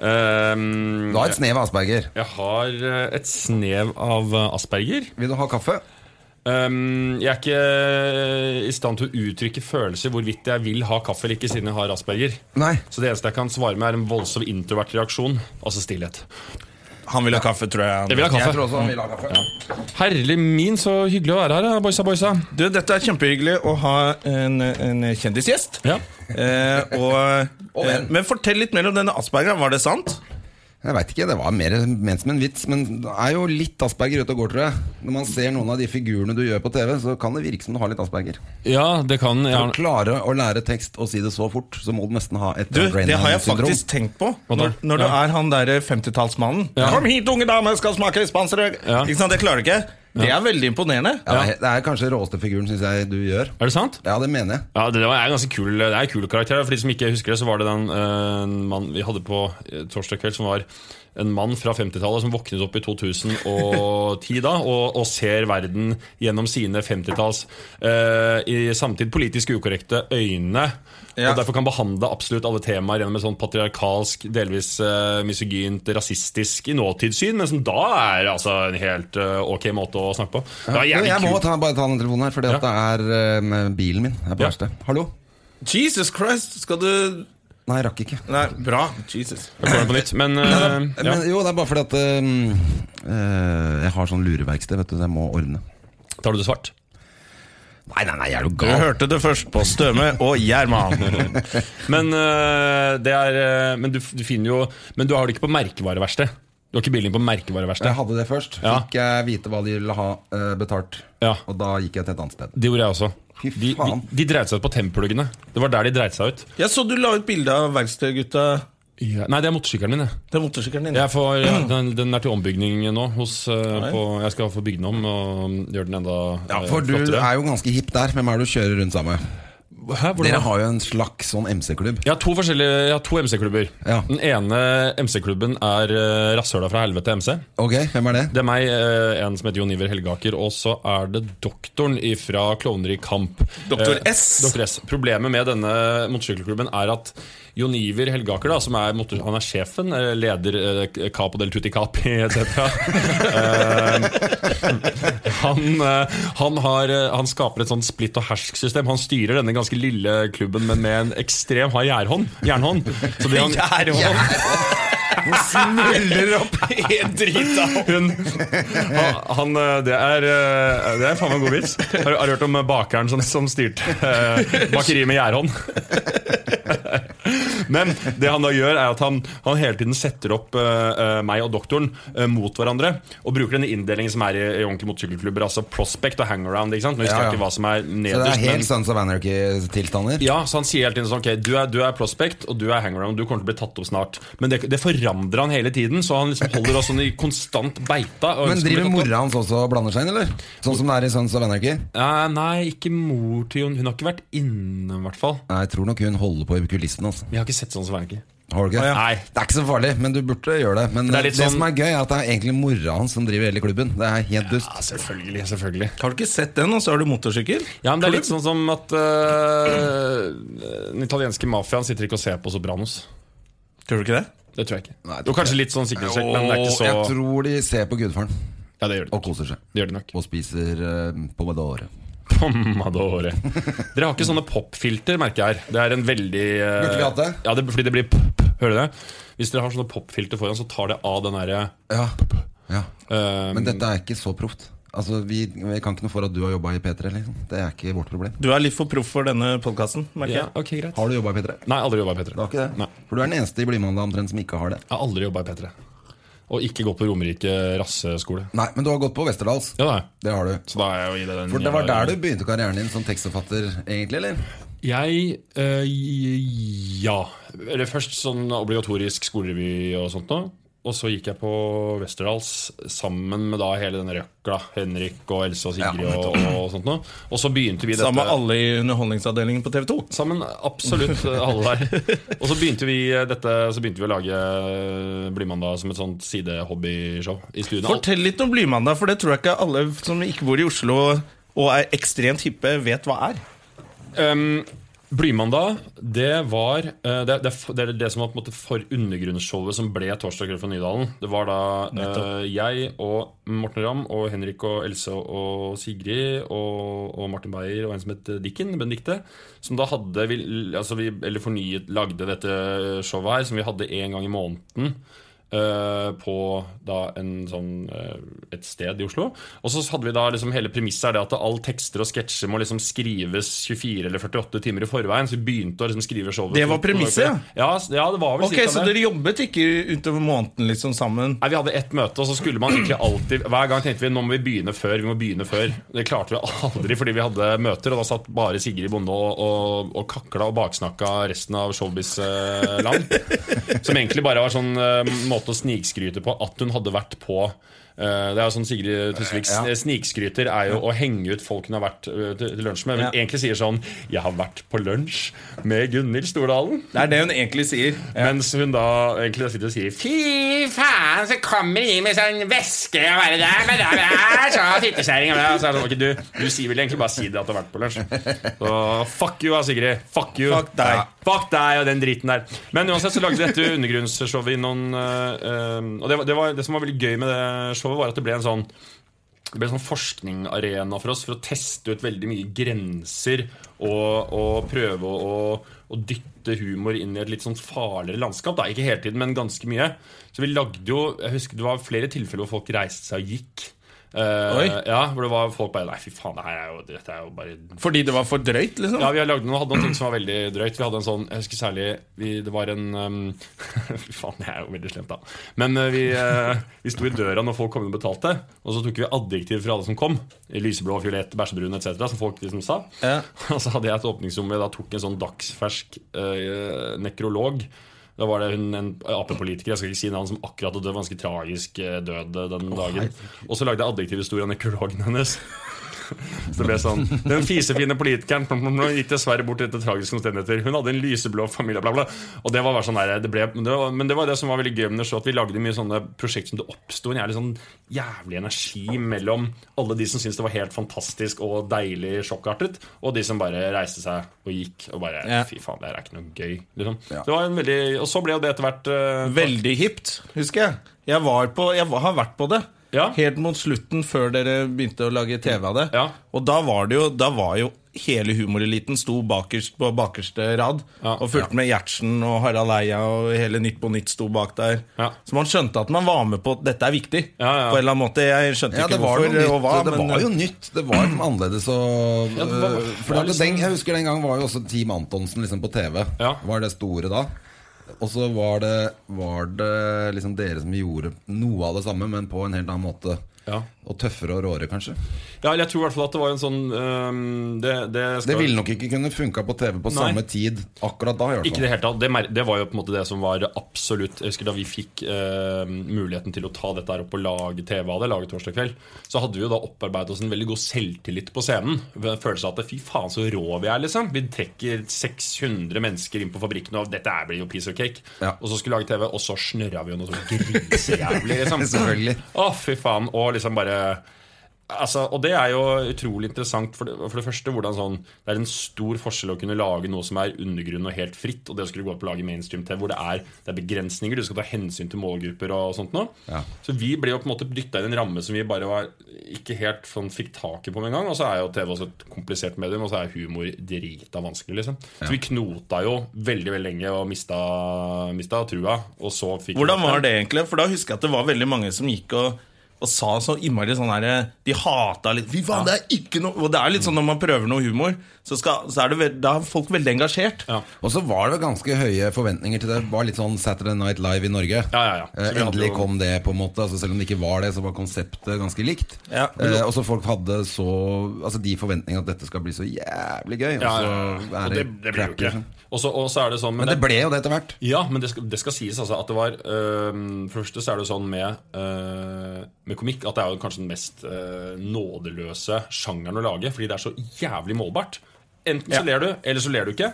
Speaker 5: ehm,
Speaker 2: Du har et snev av Asperger.
Speaker 5: Jeg har eh, et snev av eh, asperger.
Speaker 2: Vil du ha kaffe?
Speaker 5: Ehm, jeg er ikke i stand til å uttrykke følelser hvorvidt jeg vil ha kaffe eller ikke, siden jeg har asperger.
Speaker 2: Nei.
Speaker 5: Så det eneste jeg kan svare med, er en voldsom introvert reaksjon. Altså stillhet.
Speaker 1: Han vil ha kaffe, tror jeg.
Speaker 5: Jeg vil ha
Speaker 2: Jeg
Speaker 5: kaffe.
Speaker 2: tror også han vil ha kaffe.
Speaker 5: Herlig min, så hyggelig å være her, eh, boysa, boysa.
Speaker 1: Du, Dette er kjempehyggelig å ha en, en kjendisgjest.
Speaker 5: Ja.
Speaker 1: Eh, og,
Speaker 2: Og
Speaker 1: eh,
Speaker 2: venn.
Speaker 1: men fortell litt mer om denne aspergeren. Var det sant?
Speaker 2: Jeg veit ikke, det var mer ment som en vits, men det er jo litt Asperger ute og går, tror jeg. Når man ser noen av de figurene du gjør på TV, så kan det virke som du har litt Asperger.
Speaker 5: ja, det kan
Speaker 2: For å
Speaker 5: jeg.
Speaker 2: klare å lære tekst og si det så fort, så må du nesten ha et
Speaker 1: Du, Det har jeg
Speaker 2: Brennan-syndrom.
Speaker 1: faktisk tenkt på.
Speaker 5: Hva da?
Speaker 1: Når, når du
Speaker 5: Ja.
Speaker 1: er han derre 50-tallsmannen.
Speaker 5: Ja.
Speaker 1: 'Kom hit, unge dame, skal smake spansere!'
Speaker 5: Ja.
Speaker 1: Ikke sant, Det klarer du ikke. Det er veldig imponerende.
Speaker 2: Ja, det er- det er kanskje råeste figuren, syns jeg, du gjør.
Speaker 5: Er det sant?
Speaker 2: Ja, det mener jeg.
Speaker 5: Ja, det var er en ganske kul, det er en kul karakter. For de som ikke husker det, så var det den eh, en mann vi hadde på eh, torsdag kveld, som var en mann fra 50-tallet som våknet opp i 2010 da, og, og ser verden gjennom sine 50-talls eh, i samtid politisk ukorrekte øyne.
Speaker 1: Ja.
Speaker 5: Og derfor kan behandle absolutt alle temaer gjennom et sånn patriarkalsk, delvis eh, misogynt, rasistisk i nåtidssyn, men som da er altså en helt eh, ok måte å snakke på. Det var
Speaker 2: Du,
Speaker 5: jævlig
Speaker 2: jeg
Speaker 5: kult.
Speaker 2: må ta, bare ta den telefonen her, for det er eh, bilen min. Jeg er på
Speaker 5: Ja.
Speaker 2: verste. Hallo?
Speaker 1: Jesus Christ, skal du
Speaker 2: Nei, jeg rakk ikke.
Speaker 1: Nei, bra. Jesus.
Speaker 5: Jeg får den på nytt, men eh, ja.
Speaker 2: Men jo, det er bare fordi at eh, eh, jeg har sånn lureverksted, vet du, så jeg må ordne.
Speaker 5: tar du det svart?
Speaker 2: Nei, nei, nei, jeg er jo
Speaker 1: Du
Speaker 2: gal.
Speaker 1: hørte det først på Støme og Gjerman.
Speaker 5: Men, øh, det er, øh, men du, f- du finner jo Men du har det ikke på merkevareverksted. Du har ikke bilen din på merkevareverksted.
Speaker 2: Jeg hadde det først.
Speaker 5: Ja.
Speaker 2: Fikk jeg vite hva de ville ha eh, betalt.
Speaker 5: Ja.
Speaker 2: Og da gikk jeg til et annet sted.
Speaker 5: Det gjorde jeg også.
Speaker 2: Fy
Speaker 5: De, de,
Speaker 2: faen.
Speaker 5: de dreit seg ut på Tempelhuggene. Det var der de dreit seg ut.
Speaker 1: Jeg så du la ut bilde av verkstedgutta.
Speaker 5: Nei, det er motorsykkelen min. Jeg.
Speaker 1: Det er motorsykkelen din.
Speaker 5: Jeg får, ja, den, den er til ombygging nå. Hos, øh,
Speaker 1: Nei.
Speaker 5: på, jeg skal få bygd den om og um, gjøre den enda
Speaker 2: Ja,
Speaker 5: øh,
Speaker 2: for du
Speaker 5: flottere.
Speaker 2: er jo ganske hipp der. Hvem er det du kjører rundt sammen med?
Speaker 5: Hæ, hvordan-
Speaker 2: Dere har jo en slags sånn MC-klubb.
Speaker 5: Jeg har to forskjellige Jeg har to MC-klubber.
Speaker 2: Ja.
Speaker 5: Den ene MC-klubben er øh, Rasshøla fra helvete MC.
Speaker 2: Ok, hvem er det?
Speaker 5: Det er meg, eh, en som heter Jon Iver Helgaker, og så er det doktoren fra Klovner i kamp.
Speaker 1: Doktor
Speaker 5: Eh,
Speaker 1: S.
Speaker 5: Doktor S. Problemet med denne motorsykkelklubben er at Jon Iver Helgaker, da, som er, motor, han er sjefen, eh, leder eh, Capo del Tutti Capi etc. Han, eh, han, har, eh, han skaper et sånt splitt og hersk-system. Han styrer denne ganske lille klubben, men med en ekstrem hard jernhånd. jernhånd. Så det han,
Speaker 1: Smuldrer opp helt drita.
Speaker 5: Hun han, han, eh, Det er eh, Det er faen meg en god vits. Har, har du hørt om eh, bakeren som, som styrte eh, bakeriet med gjærhånd? Men det han da gjør, er at han, han hele tiden setter opp eh, eh, meg og doktoren eh, mot hverandre. Og bruker denne inndelingen som er i, i ordentlige motorsykkelklubber. Altså prospect og hangaround. Ikke sant? Nå husker
Speaker 2: Ja,
Speaker 5: jeg
Speaker 2: ja.
Speaker 5: ikke hva som er
Speaker 2: Så det
Speaker 5: nederst.
Speaker 2: er helt
Speaker 5: men-
Speaker 2: Sons of Anarchy-tilstander?
Speaker 5: ja, så Han sier hele tiden sånn Ok, du er, du er prospect, og du er hangaround. Du kommer til å bli tatt opp snart. Men det, det forandrer han hele tiden, så han liksom holder oss sånn i konstant beita. og
Speaker 2: Men
Speaker 5: ønsker å bli
Speaker 2: driver
Speaker 5: tatt opp.
Speaker 2: mora hans også og blander seg inn, eller? Sånn som det er i Sons of Anarchy?
Speaker 5: Eh, nei, ikke mor til Jon. Hun har ikke vært inne, i hvert fall.
Speaker 2: Nei, jeg tror nok hun holder på i kulissene. Altså.
Speaker 5: Vi har ikke sett sånn som Anarchy.
Speaker 2: Har du ikke?
Speaker 1: Å, ja.
Speaker 5: Nei.
Speaker 2: Det er ikke så farlig, men du burde gjøre det. Men
Speaker 5: Det
Speaker 2: det,
Speaker 5: er litt sånn-
Speaker 2: som er gøy, er at det er egentlig mora hans som driver hele klubben. Det er helt dust.
Speaker 5: Ja, selvfølgelig, selvfølgelig.
Speaker 1: Har du ikke sett den, og så har du motorsykkel?
Speaker 5: Ja, men Det er litt sånn som at eh, den italienske mafiaen sitter ikke og ser på Sopranos.
Speaker 1: Tror du ikke det?
Speaker 5: Det tror jeg ikke.
Speaker 2: Nei, det tror
Speaker 5: jo, kanskje litt sånn sikkerhetssjekk, men det er ikke så
Speaker 2: Jeg tror de ser på gudfaren
Speaker 5: Ja, det gjør det
Speaker 2: og
Speaker 5: nok.
Speaker 2: koser seg.
Speaker 5: Det gjør det nok.
Speaker 2: Og spiser uh, pomodore.
Speaker 5: Pommadore. Dere har ikke sånne popfilter, merker jeg her. Det er en veldig eh,
Speaker 2: Burde vi hatt det?
Speaker 5: Ja, det, fordi det blir pop. Hører du det? Hvis dere har sånne popfilter foran, så tar det av den derre
Speaker 2: Ja. ja.
Speaker 5: eh,
Speaker 2: Men dette er ikke så proft. Altså, vi, vi kan ikke noe for at du har jobba i P3. Liksom. Det er ikke vårt problem.
Speaker 1: Du er litt for proff for denne podkasten, merker
Speaker 5: ja,
Speaker 1: jeg.
Speaker 5: ok, greit.
Speaker 2: Har du jobba i P3?
Speaker 5: Nei, aldri jobba i P3.
Speaker 2: Du har ikke det?
Speaker 5: Nei.
Speaker 2: For du er den eneste i Blymandag omtrent som ikke har det.
Speaker 5: Jeg har aldri jobba i P3. Og ikke gått på Romerike rasseskole.
Speaker 2: Nei, men du har gått på Westerdals.
Speaker 5: Ja, da.
Speaker 2: Det har du.
Speaker 5: Så da er jeg jo i det den
Speaker 2: For det var der du begynte karrieren din som tekstforfatter, egentlig? eller?
Speaker 5: Jeg eh, Ja. Eller først sånn obligatorisk skolerevy og sånt noe. Og så gikk jeg på Westerdals sammen med da hele den røkla. Henrik og Else og Sigrid og, og sånt noe. Og så begynte vi dette
Speaker 1: Sammen med alle i Underholdningsavdelingen på TV 2.
Speaker 5: Sammen, absolutt eh, alle der. Og så begynte vi eh, dette Så begynte vi å lage Blymandag som et sånt sidehobbyshow i studio.
Speaker 1: Fortell litt om Blymandag, for det tror jeg ikke alle som ikke bor i Oslo og er ekstremt hippe, vet hva er.
Speaker 5: Um, Blymandag, det var eh, det, det, er f- det, er det som var på en måte for undergrunnsshowet som ble Torsdag kveld fra Nydalen. Det var da eh, jeg og Morten Ramm og Henrik og Else og Sigrid og, og Martin Beyer og en som het Dikken, Benedicte, som da hadde vi, altså vi, Eller fornyet, lagde dette showet her, som vi hadde én gang i måneden. eh, på da en sånn eh, et sted i Oslo. Og så hadde vi da liksom hele premisset er det at all tekster og sketsjer må liksom skrives 24 eller 48 timer i forveien. Så vi begynte å liksom skrive showet.
Speaker 1: Det var premisset, ja?
Speaker 5: ja? s- Ja, det var vel
Speaker 1: Ok,
Speaker 5: cirka
Speaker 1: Så
Speaker 5: det.
Speaker 1: dere jobbet ikke utover måneden liksom sammen?
Speaker 5: Nei, Vi hadde ett møte, og så skulle man egentlig alltid Hver gang tenkte vi nå må vi begynne før. vi må begynne før Det klarte vi aldri fordi vi hadde møter, og da satt bare Sigrid Bonde og, og, og kakla og baksnakka resten av Showbiz-land. Som egentlig bare var sånn eh, måte å snikskryte på at hun hadde vært på eh, det er jo sånn Sigrid Tusvik
Speaker 2: Ja.
Speaker 5: Snikskryter er jo å henge ut folk hun har vært eh, til til lunsj med. Men
Speaker 1: Ja.
Speaker 5: egentlig sier sånn 'Jeg har vært på lunsj med Gunhild Stordalen'.
Speaker 1: Det er det hun egentlig sier.
Speaker 5: Mens hun da egentlig sitter og sier Fy faen, så kommer de med sånn væske og bare der, men der, der, så fittekjerring og det», og så er det sånn, «Ok, du, du sier vel egentlig bare si det at du har vært på lunsj. Så fuck you, da, Sigrid. Fuck you.
Speaker 1: Fuck deg.
Speaker 5: Ja. Fuck deg og den driten der. Men uansett så lagde vi dette undergrunnsshowet i noen eh, eh, Og det, var, det, var, det som var veldig gøy med det showet, var at det ble en sånn det ble en sånn forskningarena for oss for å teste ut veldig mye grenser og, og prøve å, å, å dytte humor inn i et litt sånn farligere landskap. Da. Ikke hele tiden, men ganske mye. Så vi lagde jo Jeg husker det var flere tilfeller hvor folk reiste seg og gikk. Eh,
Speaker 1: Oi.
Speaker 5: ja, hvor det var folk bare Nei, fy faen, det her er jo, dette er jo bare
Speaker 1: Fordi det var for drøyt, liksom?
Speaker 5: ja, vi har lagd noe, hadde noen ting som var veldig drøyt. Vi hadde en sånn, jeg husker særlig vi, Det var en um, Fy faen, det er jo veldig slemt, da. Men eh, vi, eh, vi sto i døra når folk kom inn og betalte, og så tok vi adjektiv fra alle som kom. I Lyseblå, fiolett, bæsjebrun etc., som folk liksom sa.
Speaker 1: Ja.
Speaker 5: Og så hadde jeg et åpningsrom hvor jeg da tok en sånn dagsfersk eh, nekrolog. Da var det hun, en Ap-politiker jeg skal ikke si navn, som akkurat hadde dødd. Ganske tragisk eh, død eh, den dagen. Og så lagde jeg adjektivhistorie av nekrologen hennes. Så det ble sånn Den fisefine politikeren plom, plom, plom, gikk dessverre bort etter tragiske omstendigheter. Hun hadde en lyseblå familie, bla, bla. Og det var bare sånn der, det ble, men, det var, men det var det som var veldig gøy med det, så at vi lagde mye sånne prosjekt som det oppsto en jævlig, sånn, jævlig energi mellom alle de som syntes det var helt fantastisk og deilig sjokkartet, og de som bare reiste seg og gikk og bare
Speaker 1: Ja.
Speaker 5: Fy faen, det her er ikke noe gøy. Liksom.
Speaker 2: Ja.
Speaker 5: Det var en veldig, og så ble jo det etter hvert eh,
Speaker 1: Veldig hipt, husker jeg. Jeg, var på, jeg var, har vært på det.
Speaker 5: Ja.
Speaker 1: Helt mot slutten, før dere begynte å lage TV av det.
Speaker 5: Ja.
Speaker 1: Og da var det jo, da var jo hele humoreliten sto bakerst på bakerste rad
Speaker 5: Ja.
Speaker 1: og fulgte med Gjertsen og Harald Eia og hele Nytt på Nytt sto bak der.
Speaker 5: Ja.
Speaker 1: Så man skjønte at man var med på at dette er viktig.
Speaker 5: Ja, ja.
Speaker 1: På en eller annen måte. Jeg skjønte
Speaker 2: Ja, det
Speaker 1: ikke
Speaker 2: var, noe
Speaker 1: hvorfor
Speaker 2: nytt,
Speaker 1: og hva.
Speaker 2: det
Speaker 1: men-
Speaker 2: var jo nytt. Det var liksom annerledes og
Speaker 5: eh, Ja, det
Speaker 2: øh,
Speaker 5: var-
Speaker 2: for
Speaker 5: det var
Speaker 2: at
Speaker 5: liksom-
Speaker 2: den, Jeg husker den gangen var jo også Team Antonsen liksom på TV.
Speaker 5: Ja.
Speaker 2: Var det store da. Og så var det, var det liksom dere som gjorde noe av det samme, men på en helt annen måte.
Speaker 5: Ja.
Speaker 2: Og tøffere og råere, kanskje.
Speaker 5: Ja, eller jeg tror i hvert fall at det var en sånn eh, det, det,
Speaker 2: Det
Speaker 5: skal-
Speaker 2: ville nok ikke kunne funka på TV på
Speaker 5: Nei.
Speaker 2: samme tid akkurat da. i hvert
Speaker 5: Ikke i
Speaker 2: fall.
Speaker 5: det hele tatt. Det, mer- det var jo på en måte det som var absolutt Jeg husker da vi fikk eh, muligheten til å ta dette her opp og lage TV av det, lage Torsdag kveld, så hadde vi jo da opparbeidet oss en veldig god selvtillit på scenen. Ved en Følelse av at fy faen, så rå vi er, liksom. Vi trekker 600 mennesker inn på fabrikken, og dette her blir jo piece of cake.
Speaker 2: Ja.
Speaker 5: Og så skulle vi lage TV, og så snørra vi jo noe sånn grisejævlig, liksom.
Speaker 2: Selvfølgelig.
Speaker 5: Å, fy faen. Og liksom bare Altså, og det er jo utrolig interessant, for det, for det første hvordan sånn Det er en stor forskjell å kunne lage noe som er undergrunn og helt fritt, og det å skulle gå opp og lage mainstream-TV hvor det er, det er begrensninger, du skal ta hensyn til målgrupper og sånt noe.
Speaker 2: Ja.
Speaker 5: Så vi ble jo på en måte dytta inn i en ramme som vi bare var ikke helt sånn, fikk taket på med en gang. Og så er jo TV også et komplisert medium, og så er humor drita vanskelig, liksom. Så vi knota jo veldig, veldig lenge og mista, mista trua, og så fikk vi-
Speaker 1: Hvordan var det egentlig? For da husker jeg at det var veldig mange som gikk og og sa så innmari sånn her De hata litt Fy faen, det er ikke noe Og det er litt sånn når man prøver noe humor, så, skal, så er det vel- da er folk veldig engasjert.
Speaker 5: Ja.
Speaker 2: Og så var det vel ganske høye forventninger til det. Det var litt sånn Saturday Night Live i Norge.
Speaker 5: Ja, ja, ja. Så vi
Speaker 2: Eh,
Speaker 5: hadde
Speaker 2: Endelig
Speaker 5: jo-
Speaker 2: kom det, på en måte. Altså, selv om det ikke var det, så var konseptet ganske likt.
Speaker 1: Ja.
Speaker 2: Eh, og så folk hadde så Altså de forventningene at dette skal bli så jævlig gøy. Og så
Speaker 5: Ja, ja, ja.
Speaker 2: er
Speaker 5: Og det, det ble jo
Speaker 2: crappy,
Speaker 5: ikke.
Speaker 2: liksom.
Speaker 5: Og så, og så er det sånn men
Speaker 2: Men det ble jo det etter hvert.
Speaker 5: Ja, men det skal, det skal sies altså at det var øhm, For det første så er det jo sånn med, øh, med komikk at det er jo kanskje den mest øh, nådeløse sjangeren å lage, fordi det er så jævlig målbart. Enten så ler du, eller så ler du ikke.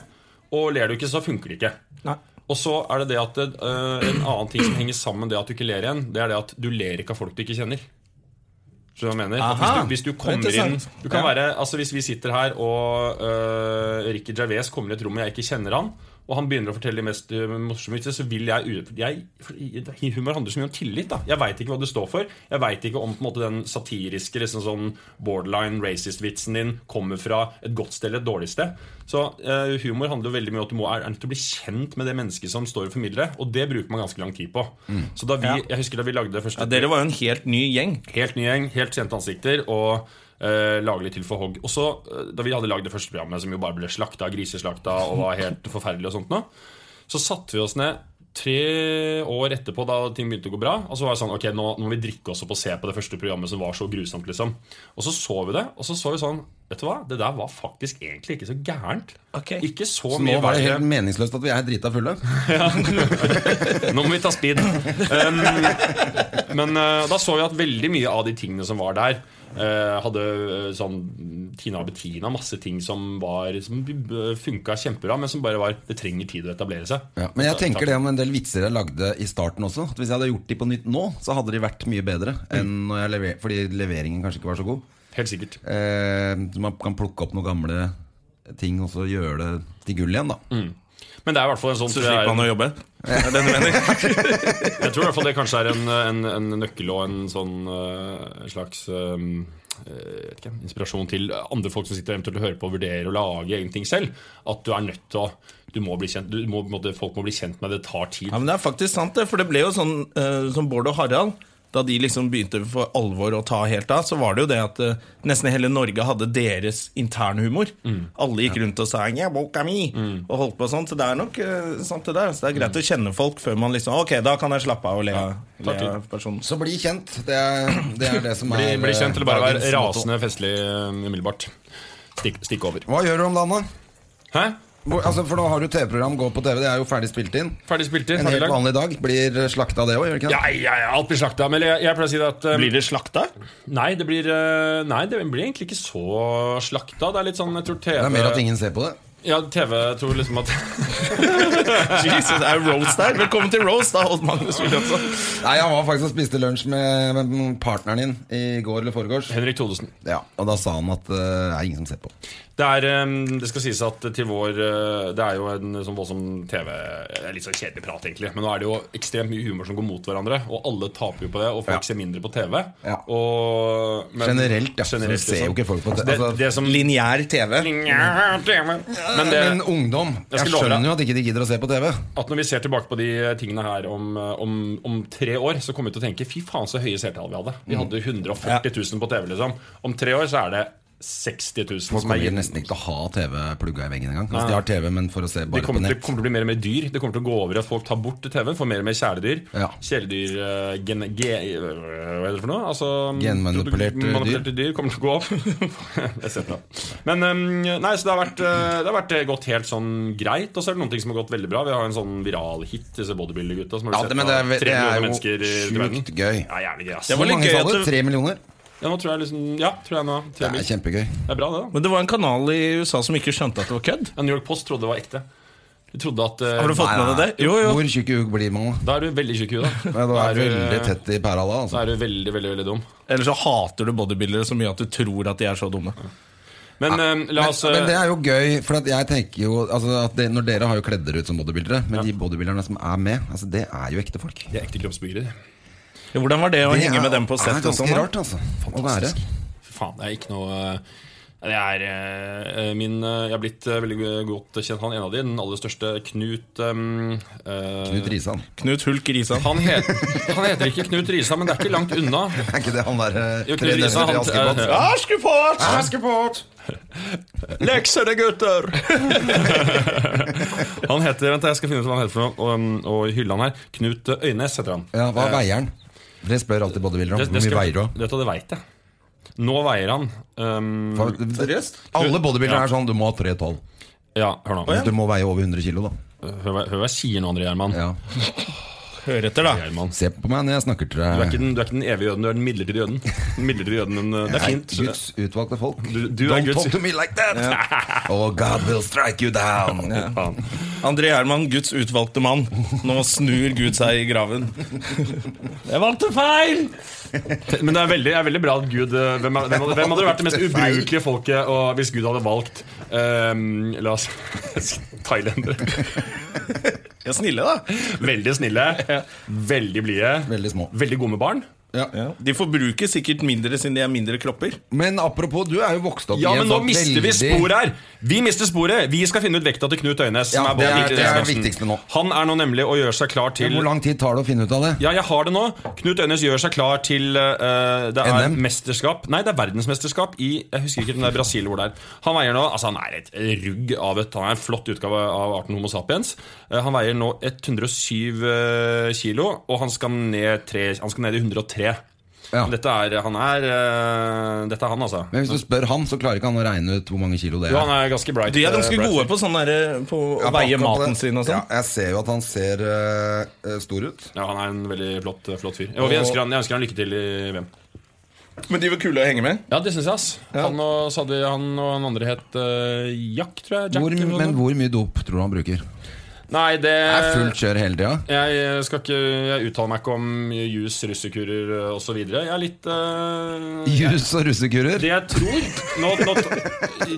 Speaker 5: Og ler du ikke, så funker det ikke.
Speaker 1: Nei.
Speaker 5: Og så er det det at øh, En annen ting som henger sammen med det at du ikke ler igjen, det er det at du ler ikke av folk du ikke kjenner. Skjønner du hva jeg mener? At
Speaker 1: Aha,
Speaker 5: hvis, du, hvis du kommer inn
Speaker 1: interessant.
Speaker 5: du kan være, altså Hvis vi sitter her, og øh, Ricky Gervais kommer i et rom og jeg ikke kjenner han, og han begynner å fortelle de mest øh, morsomme vitser, så vil jeg, u- jeg for i- Humor handler så mye om tillit. da Jeg veit ikke hva du står for. Jeg veit ikke om på en måte, den satiriske liksom, sånn borderline racist-vitsen din kommer fra et godt sted eller et dårlig sted. Så øh, humor handler jo veldig mye om at du må er, er nødt til å bli kjent med det mennesket som står og formidler, og det bruker man ganske lang tid på. Så da vi,
Speaker 1: Mm. Ja.
Speaker 5: Jeg husker da vi lagde det første
Speaker 1: Ja, dere var jo en helt ny gjeng.
Speaker 5: Helt ny gjeng, helt kjente ansikter og eh, lage litt til for hogg. Og så, eh, da vi hadde lagd det første programmet, som jo bare ble slakta, griseslakta og var helt forferdelig og sånt nå, så satte vi oss ned tre år etterpå, da ting begynte å gå bra. Og så var det sånn, ok, nå, nå må vi drikke oss opp og se på det første programmet som var så grusomt, liksom. Og så så vi det, og så så vi sånn, vet du hva, det der var faktisk egentlig ikke så gærent.
Speaker 1: Ok.
Speaker 5: Ikke så,
Speaker 2: Så nå
Speaker 5: mye
Speaker 2: var det
Speaker 5: verre.
Speaker 2: helt meningsløst at vi er drita fulle.
Speaker 5: Nå må vi ta speed. Um, men eh, da så vi at veldig mye av de tingene som var der, eh, hadde eh, sånn Tina og Bettina, masse ting som, var, som eh, funka kjempebra, men som bare var Det trenger tid å etablere seg.
Speaker 2: Ja, men jeg tenker det om en del vitser jeg lagde i starten også. At Hvis jeg hadde gjort de på nytt nå, så hadde de vært mye bedre.
Speaker 5: Mm.
Speaker 2: Enn når jeg lever, fordi leveringen kanskje ikke var så god.
Speaker 5: Helt sikkert.
Speaker 2: Eh, så man kan plukke opp noen gamle ting og så gjøre det til gull igjen, da.
Speaker 5: Men det er i hvert fall en sånn
Speaker 1: Så
Speaker 5: tror jeg,
Speaker 1: slipper man å jobbe. Det er det du mener.
Speaker 5: Jeg tror i hvert fall det kanskje er en, en, en nøkkel og en sånn eh, slags eh, eh, vet ikke, inspirasjon til andre folk som sitter og eventuelt og hører på og vurderer å lage egne ting selv. At du er nødt til å du må bli kjent, du må, på en måte- Folk må bli kjent med det. Det tar tid.
Speaker 1: Ja, men Det er faktisk sant, det. For det ble jo sånn eh, som Bård og Harald. Da de liksom begynte for alvor å ta helt av, så var det jo det at eh, nesten hele Norge hadde deres internhumor. Alle gikk rundt og sa Mm. 'ja, boka mi' og holdt på sånn. Så det er nok eh, sant, det der. Så det er greit å kjenne folk før man liksom Ok, da kan jeg slappe av og le av-
Speaker 5: tar
Speaker 1: le
Speaker 5: tid.
Speaker 1: av personen.
Speaker 2: Så bli kjent. Det er det, er det som
Speaker 5: Bli,
Speaker 2: er
Speaker 5: bli kjent eller bare
Speaker 2: dagens
Speaker 5: være
Speaker 2: motto.
Speaker 5: rasende festlig eh, umiddelbart. Stikk, stikk over.
Speaker 2: Hva gjør du om dagen, da?
Speaker 5: Hæ?
Speaker 2: Hvor- Altså, for nå har du TV-program, gå på TV, det er jo ferdig spilt inn.
Speaker 5: Ferdig spilt i?
Speaker 2: En
Speaker 5: Ferdig
Speaker 2: helt
Speaker 5: lagd?
Speaker 2: vanlig dag blir slakta, det òg, gjør det ikke det?
Speaker 5: Ja, ja, ja, alt blir slakta. Men jeg, jeg pleier å si det at eh,
Speaker 1: Blir det slakta?
Speaker 5: Nei, det blir eh, Nei, det blir egentlig ikke så slakta. Det er litt sånn, jeg tror TV
Speaker 2: Det er mer at ingen ser på det.
Speaker 5: Ja, TV tror liksom at
Speaker 1: Jesus, det er roast der. Velkommen til roast, da, Odd Magnus Wilhelmsen.
Speaker 2: Nei, Jeg var faktisk og spiste lunsj med, med partneren din i går eller foregårs.
Speaker 5: Henrik Thodesen.
Speaker 2: Ja, Og da sa han at eh, det er ingen som ser på.
Speaker 5: Det er, ehm, det skal sies at til vår eh, Det er jo en sånn voldsom TV det er Litt sånn kjedelig prat, egentlig. Men nå er det jo ekstremt mye humor som går mot hverandre, og alle taper jo på det, og folk
Speaker 2: Ja.
Speaker 5: ser mindre på TV.
Speaker 2: Ja.
Speaker 5: Og, men-
Speaker 2: Generelt, ja. så
Speaker 5: Generelt,
Speaker 2: ser jo
Speaker 5: liksom.
Speaker 2: ikke folk på det.
Speaker 5: Det,
Speaker 2: Altså,
Speaker 5: det som
Speaker 1: Lineær TV.
Speaker 5: Men det,
Speaker 2: men Eh, ungdom
Speaker 5: Jeg
Speaker 2: Jeg,
Speaker 5: skal love deg.
Speaker 2: skjønner jo at ikke de gidder å se på TV.
Speaker 5: at når vi ser tilbake på de tingene her om, om, om tre år, så kommer vi til å tenke fy faen så høye seertall vi hadde. Vi
Speaker 2: Mm.
Speaker 5: hadde 140 000 på TV, liksom. Om tre år så er det 60 000
Speaker 2: Folk
Speaker 5: som er
Speaker 2: kommer
Speaker 5: gjennom.
Speaker 2: nesten ikke til å ha TV plugga i veggen engang. Altså, de har TV, men for å se
Speaker 5: Det
Speaker 2: bare på
Speaker 5: kommer, til,
Speaker 2: nett.
Speaker 5: kommer til å bli mer og mer dyr. Det kommer til å gå over i at folk tar bort TV-en, får mer og mer kjæledyr.
Speaker 2: Ja.
Speaker 5: Kjæledyr eh, gen, ge, eh, Hva er det for noe? Altså,
Speaker 2: Genmanipulerte
Speaker 5: produ- manipulerte dyr kommer til å gå opp. Et cetera. Men eh, nei, så det har, vært, eh, det har vært eh, gått helt sånn greit. Og så er det noen ting som har gått veldig bra. Vi har en sånn viral hit, disse bodybuilder-gutta. Som
Speaker 2: Ja,
Speaker 5: har
Speaker 2: det,
Speaker 5: blitt sett
Speaker 2: men det
Speaker 5: av
Speaker 2: er,
Speaker 5: tre
Speaker 2: det er
Speaker 5: millioner
Speaker 2: jo
Speaker 5: mennesker i- i verden.
Speaker 2: sjukt gøy.
Speaker 5: Ja, jævlig gøy, ass.
Speaker 1: Det var
Speaker 2: Hvor
Speaker 1: litt
Speaker 2: mange
Speaker 1: gøy
Speaker 2: sa
Speaker 1: at
Speaker 2: du?
Speaker 1: du-
Speaker 2: Tre millioner?
Speaker 5: Ja, nå tror jeg liksom Ja, tror jeg nå.
Speaker 2: Det
Speaker 5: Tre
Speaker 2: er
Speaker 5: mil.
Speaker 2: kjempegøy.
Speaker 5: Det er bra, det, da.
Speaker 1: Men det var en kanal i USA som ikke skjønte at det var kødd.
Speaker 5: Ja, New York Post trodde det var ekte. De trodde at eh,
Speaker 1: Har du fått
Speaker 2: Nei,
Speaker 1: med deg
Speaker 2: nei.
Speaker 1: det? Jo, jo.
Speaker 2: Hvor tjukk i hugg blir man da?
Speaker 5: Da er du veldig tjukk i huet, da.
Speaker 2: Ja, Det
Speaker 5: Da
Speaker 2: er
Speaker 5: du-
Speaker 2: veldig tett i pæra da.
Speaker 5: Da
Speaker 2: Altså.
Speaker 5: er du veldig, veldig, veldig dum.
Speaker 1: Eller så hater du bodybuildere så mye at du tror at de er så dumme.
Speaker 5: Men eh, la
Speaker 2: Men,
Speaker 5: oss
Speaker 2: men det er jo gøy, for at jeg tenker jo altså at det, Når dere har jo kledd dere ut som bodybuildere, men de bodybuilderne som er med, altså det er jo ekte folk.
Speaker 5: De er ekte kroppsbyggere.
Speaker 1: Ja, Hvordan var det å
Speaker 2: Det
Speaker 1: henge med
Speaker 2: er-
Speaker 1: dem på
Speaker 2: er
Speaker 1: sett? og
Speaker 2: ganske
Speaker 1: sånn? da?
Speaker 2: rart, altså. Å være.
Speaker 5: Fy faen, det er ikke noe eh, Det er eh, min eh, Jeg har blitt eh, veldig godt kjent han ene av de, den aller største, Knut um,
Speaker 2: Knut Risan.
Speaker 1: Knut Hulk Risan.
Speaker 5: han, het, han heter ikke Knut Risa, men det er ikke langt unna.
Speaker 2: Er ikke det han der eh,
Speaker 5: Jo,
Speaker 2: tre
Speaker 5: Knut Risan,
Speaker 2: nevner i
Speaker 5: han-
Speaker 2: Askepott?
Speaker 5: eh,
Speaker 1: Askepott!
Speaker 2: Askepott!
Speaker 1: Lekser det, gutter!
Speaker 5: Han heter, vent, jeg skal finne ut hva han heter for noe, og, um, og hylle han her. Knut Øynes heter han.
Speaker 2: Ja, hva veier han? For jeg spør alltid bodybuildere om hvor mye
Speaker 5: skal-
Speaker 2: veier du har.
Speaker 5: Dette det veit jeg. Nå veier han um,
Speaker 2: Seriøst? Alle bodybuildere er sånn 'du må ha 3,12'.
Speaker 5: Ja, hør nå.
Speaker 2: Hvis du må veie over 100 kilo, da.
Speaker 5: Hør hva, hør hva jeg sier nå, André Gjerman.
Speaker 2: Ja.
Speaker 1: Hør etter, da.
Speaker 5: Gjerman.
Speaker 2: Se på meg når jeg snakker til
Speaker 5: Du er,
Speaker 2: deg.
Speaker 5: ikke den, du er ikke den evige jøden, du er den midlertidige jøden. Den Midlertidige jøden, men eh, Det er
Speaker 2: Jeg
Speaker 5: fint.
Speaker 2: er Guds utvalgte folk.
Speaker 5: Du- du er
Speaker 2: Don't
Speaker 5: Guds-
Speaker 2: talk to me like that! Oh, God will strike you down!
Speaker 5: Faen.
Speaker 1: André Gjerman, Guds utvalgte mann. Nå snur Gud seg i graven. Jeg valgte feil!
Speaker 5: Men det er veldig, er veldig bra at Gud eh, Hvem, er- hvem, hadde, hvem hadde vært det mest ubrukelige folket og hvis Gud hadde valgt eh, La oss Thailendere.
Speaker 1: De er snille, da.
Speaker 5: Veldig snille, veldig blide,
Speaker 2: Veldig små.
Speaker 5: veldig gode med barn.
Speaker 1: De forbruker sikkert mindre siden de er mindre kropper.
Speaker 2: Men apropos, du er jo vokst opp
Speaker 5: Ja,
Speaker 2: i en
Speaker 5: men nå
Speaker 2: sånn
Speaker 5: mister vi
Speaker 2: veldig-
Speaker 5: sporet her! Vi mister sporet! Vi skal finne ut vekta til Knut Øynes.
Speaker 2: Ja, det er-
Speaker 5: vår viktigste
Speaker 2: det er det
Speaker 5: gjest.
Speaker 2: viktigste nå.
Speaker 5: Han er nå nemlig å gjøre seg klar til
Speaker 2: Hvor lang tid tar det å finne ut av det?
Speaker 5: Ja, jeg har det nå. Knut Øynes gjør seg klar til eh, Det er
Speaker 2: NM?
Speaker 5: mesterskap Nei, det er verdensmesterskap i Jeg husker ikke den der Brasil hvor det er. Han veier nå Altså, han er et rugg av et Han er en flott utgave av arten Homo sapiens. Eh, han veier nå 107 eh, kilo, og han skal ned, tre, han skal ned i 103.
Speaker 2: Ja.
Speaker 5: Dette er Han er eh, Dette er han, altså.
Speaker 2: Men hvis du spør han, så klarer ikke han å regne ut hvor mange kilo det
Speaker 5: Jo,
Speaker 2: er.
Speaker 5: han er ganske bright.
Speaker 1: De er
Speaker 5: eh,
Speaker 1: ganske
Speaker 5: bright.
Speaker 1: gode på, sånn derre- på å
Speaker 2: Ja,
Speaker 1: veie
Speaker 2: akkurat på
Speaker 1: maten
Speaker 2: det.
Speaker 1: sin og sånn.
Speaker 2: Ja, jeg ser jo at han ser eh, eh, stor ut.
Speaker 5: Ja, han er en veldig flott, eh, flott fyr. Og vi
Speaker 2: Og-
Speaker 5: ønsker han, jeg ønsker han lykke til i VM.
Speaker 1: Men de var kule å henge med.
Speaker 5: Ja, det syns jeg, ass. Han, og, så hadde, han og han andre het eh, Jack, tror jeg. Jack,
Speaker 2: Hvor,
Speaker 5: eller noe
Speaker 2: men
Speaker 5: sånt.
Speaker 2: hvor mye dop tror du han bruker?
Speaker 5: Nei, det
Speaker 2: Er fullt kjør hele tida?
Speaker 5: Jeg skal ikke Jeg uttaler meg ikke om jus, eh, russekurer osv. Jeg er litt eh, jeg-
Speaker 2: Jus og russekurer?
Speaker 5: Det jeg tror nå, nå,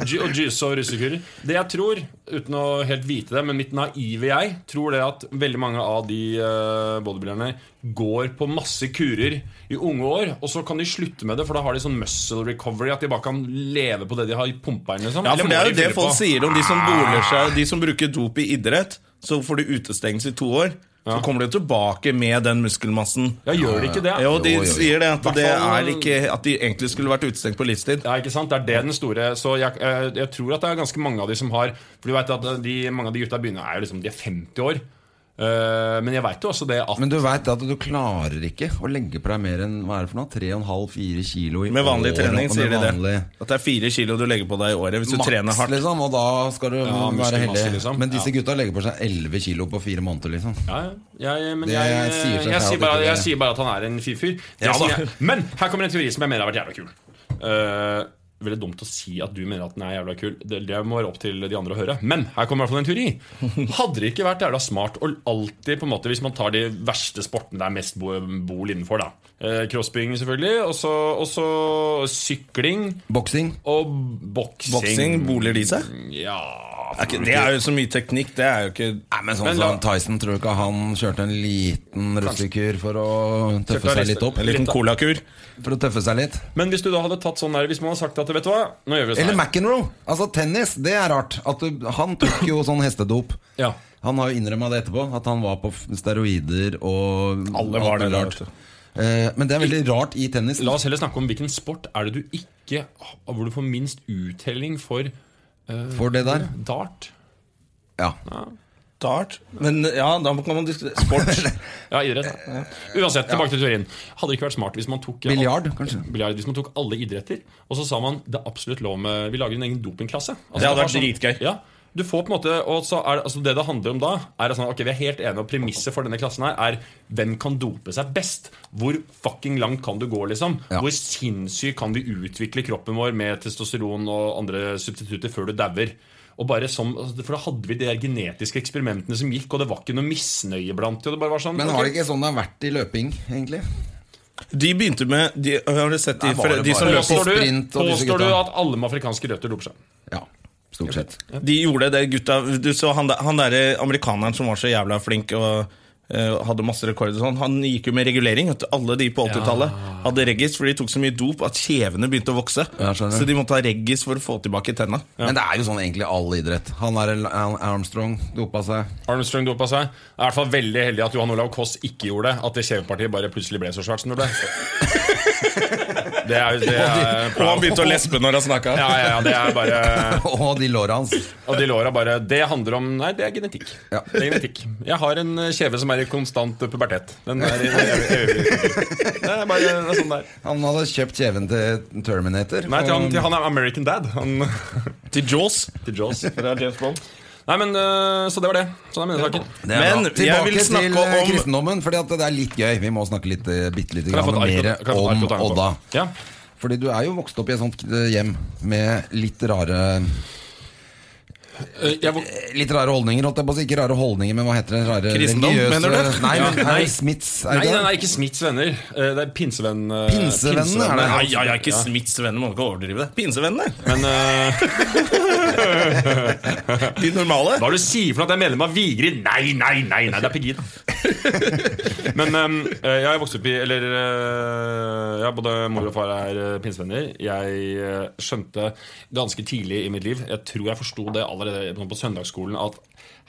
Speaker 5: ju- Og juice og russekurer. Det jeg tror, uten å helt vite det, men mitt naive jeg, tror det at veldig mange av de eh, bodybuilderne går på masse kurer i unge år, og så kan de slutte med det, for da har de sånn muscle recovery, at de bare kan leve på det de har pumpa inn. Liksom.
Speaker 1: Ja,
Speaker 5: Eller
Speaker 1: for Det
Speaker 5: må
Speaker 1: er
Speaker 5: de
Speaker 1: jo det
Speaker 5: fylle
Speaker 1: folk
Speaker 5: på?
Speaker 1: sier om de
Speaker 2: Ah.
Speaker 1: som boler seg De som bruker dop i idrett. Så får de utestengelse i to år. Så kommer de tilbake med den muskelmassen.
Speaker 5: Ja, gjør de ikke det?
Speaker 1: Jo, de
Speaker 2: Jo, jo, jo.
Speaker 1: sier det at det
Speaker 5: Hvertfall-
Speaker 1: er ikke At de egentlig skulle vært utestengt på livstid.
Speaker 5: Ja, ikke sant? Det er det den store Så jeg, eh, jeg tror at det er ganske mange av de som har For du vet at de, mange av de gutta begynner er jo liksom, De er 50 år Eh, Men jeg vet jo også det at
Speaker 2: Men du veit at du klarer ikke å legge på deg mer enn hva er det for noe? 3,5-4 kilo i
Speaker 1: Med vanlig
Speaker 2: året,
Speaker 1: trening,
Speaker 2: og med
Speaker 1: sier de det.
Speaker 2: vanlig-
Speaker 1: At det er fire kilo du legger på deg i året hvis du trener
Speaker 2: Maks,
Speaker 1: hardt.
Speaker 2: liksom, og da skal du
Speaker 5: muskelmasse,
Speaker 2: være heldig.
Speaker 5: liksom.
Speaker 2: Men disse
Speaker 5: Ja.
Speaker 2: gutta legger på seg 11 kilo på fire måneder, liksom.
Speaker 5: ja, jeg, eh, men
Speaker 2: Det
Speaker 5: jeg, jeg,
Speaker 2: sier seg selv at
Speaker 5: sier
Speaker 2: ikke
Speaker 5: bare,
Speaker 2: det-
Speaker 5: jeg sier bare at han er en fyrfyr
Speaker 1: Ja, da.
Speaker 5: Men her kommer en teori som jeg mener har vært jævla kul Eh, Veldig dumt å si at du mener at den er jævla kul det, det må være opp til de andre å høre Men her kommer i hvert fall en teori Hadde det ikke vært jævla smart å alltid på en måte Hvis man tar de verste sportene det er mest bo- bol innenfor da Eh, Crossbygging selvfølgelig Og så og så sykling
Speaker 2: Boksing.
Speaker 5: Og boksing
Speaker 1: Boksing, boler de seg?
Speaker 5: Ja
Speaker 1: Er ikke- Det er jo så mye teknikk. Det er jo ikke
Speaker 2: Nei, men sånn
Speaker 5: Men
Speaker 2: som
Speaker 5: la-
Speaker 2: Tyson, tror du ikke han kjørte en liten russekur for å tøffe
Speaker 5: Kjørte
Speaker 2: seg litt opp?
Speaker 1: En liten colakur.
Speaker 2: For å tøffe seg litt?
Speaker 5: Men hvis du da hadde tatt sånn der Hvis man hadde sagt at Vet du hva? Nå gjør vi det
Speaker 2: Eller
Speaker 5: sånn her.
Speaker 2: McEnroe! Altså, tennis, det er rart. At du, han tok jo sånn hestedop.
Speaker 5: Ja.
Speaker 2: Han har jo innrømma det etterpå, at han var på f- steroider og
Speaker 1: Alle var
Speaker 2: alt mulig
Speaker 1: det, da, vet
Speaker 2: rart.
Speaker 1: du.
Speaker 2: Eh, Men det er veldig rart i tennis.
Speaker 5: La oss heller snakke om hvilken sport er det du ikke Hvor du får minst uttelling for
Speaker 2: For det der.
Speaker 5: dart.
Speaker 2: Ja.
Speaker 1: Dart. Men ja, da kan man diskutere Sport.
Speaker 5: Ja, idrett. da. Uansett, tilbake til teorien. Hadde det ikke vært smart hvis man tok
Speaker 2: Biljard, kanskje.
Speaker 5: Biljard, hvis man tok alle idretter, og så sa man det er absolutt lov med Vi lager en egen dopingklasse. Altså,
Speaker 1: Det hadde
Speaker 5: har
Speaker 1: vært dritgøy.
Speaker 5: Ja, du får på en måte, og så er det, altså det det handler om da, er det sånn, ok, vi er helt enige om premisset for denne klassen her, er hvem kan dope seg best? Hvor fucking langt kan du gå, liksom?
Speaker 2: Ja.
Speaker 5: Hvor sinnssykt kan vi utvikle kroppen vår med testosteron og andre substitutter før du dauer? Og bare som, altså, for da hadde vi de der genetiske eksperimentene som gikk, og det var ikke noe misnøye blant de, og det bare var sånn,
Speaker 2: Men
Speaker 5: ok,
Speaker 2: var det ikke sånn det har vært i løping, egentlig?
Speaker 1: De begynte med de, Har du sett de,
Speaker 2: Der var det
Speaker 1: de som
Speaker 2: bare-
Speaker 1: løp
Speaker 5: Påstår du,
Speaker 2: sprint og disse
Speaker 5: påstår du
Speaker 2: gutta.
Speaker 5: at alle med afrikanske røtter doper seg?
Speaker 2: Ja. Stort sett.
Speaker 1: De gjorde det, gutta. Du så han, der- han derre amerikaneren som var så jævla flink og eh, hadde masse rekorder og sånn. Han gikk jo med regulering. vet du. Alle de på 80-tallet hadde reggis, for de tok så mye dop at kjevene begynte å vokse.
Speaker 2: Ja, skjønner.
Speaker 1: så de måtte ha reggis for å få tilbake tenna.
Speaker 2: Men det er jo sånn egentlig all idrett. Han er en- Al- Armstrong dopa seg.
Speaker 5: Armstrong dopa seg. Jeg er i hvert fall veldig heldig at Johan Olav Koss ikke gjorde det. At det kjevepartiet bare plutselig ble så svært som det ble. Det er, det er
Speaker 1: Og han begynte å lespe når han snakka.
Speaker 5: Ja, ja, ja, det er bare
Speaker 2: Og de låra hans.
Speaker 5: Og de låra bare Det handler om Nei, det er genetikk.
Speaker 2: Ja.
Speaker 5: Det er genetikk. Jeg har en eh, kjeve som er i konstant pubertet. Den er i evig- evig pubertet. Det er bare
Speaker 1: Eh,
Speaker 5: det er sånn det er.
Speaker 2: Han hadde kjøpt kjeven til Terminator.
Speaker 5: Nei, til han,
Speaker 2: Og-
Speaker 5: til han er American Dad. Han
Speaker 1: Til Jaws.
Speaker 5: Til Jaws.
Speaker 1: Det er James Bond.
Speaker 5: Nei, men øh, Så det var det. Så det er minnesaken.
Speaker 2: Det er
Speaker 1: Men
Speaker 2: bra.
Speaker 1: jeg
Speaker 2: Tilbake
Speaker 1: vil snakke
Speaker 2: til eh,
Speaker 1: om-
Speaker 2: kristendommen, Fordi at det er litt gøy. Vi må snakke litt, eh, bitte lite
Speaker 5: Kan jeg
Speaker 2: grann
Speaker 5: få et
Speaker 2: mer
Speaker 5: ark- kan jeg få
Speaker 2: om
Speaker 5: et ark å ta med på?
Speaker 2: Odda.
Speaker 5: Ja.
Speaker 2: Fordi du er jo vokst opp i et sånt eh, hjem med litt rare
Speaker 5: Øh, Jeg, vok-
Speaker 2: eh, Litt rare holdninger, holdt jeg på å si. Ikke rare holdninger, men hva heter det? Rare
Speaker 1: Kristendom, mener du?
Speaker 2: Nei, men
Speaker 5: Nei.
Speaker 2: er det Smiths? Er
Speaker 5: nei,
Speaker 2: det
Speaker 5: nei,
Speaker 2: ikke
Speaker 5: nei,
Speaker 2: det?
Speaker 5: ikke Smiths venner. Eh, Det er pinsevenn... eh,
Speaker 2: Pinsevennene, er det?
Speaker 1: Nei, jeg er ikke Smiths venner. Må ikke overdrive det. Pinsevennene.
Speaker 5: Men øh,
Speaker 1: De normale.
Speaker 5: Hva er det du sier for noe at jeg er medlem av Vigrid? Nei, nei, nei, nei, det er Pegida. Men um, jeg har vokst opp i Eller eh, ja, både mor og far er eh, pinsevenner. Jeg eh, skjønte ganske tidlig i mitt liv, jeg tror jeg forsto det allerede på- på søndagsskolen, at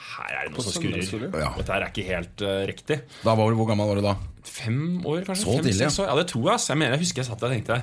Speaker 5: her er det noe som skurrer.
Speaker 2: Ja.
Speaker 5: Dette her er ikke helt eh, riktig.
Speaker 2: Da var du, Hvor gammel var du da?
Speaker 5: Fem år, kanskje?
Speaker 2: Så
Speaker 5: Fem,
Speaker 2: tidlig,
Speaker 5: seks år? Ja, det tror jeg. ass. Jeg mener, jeg husker jeg satt der og tenkte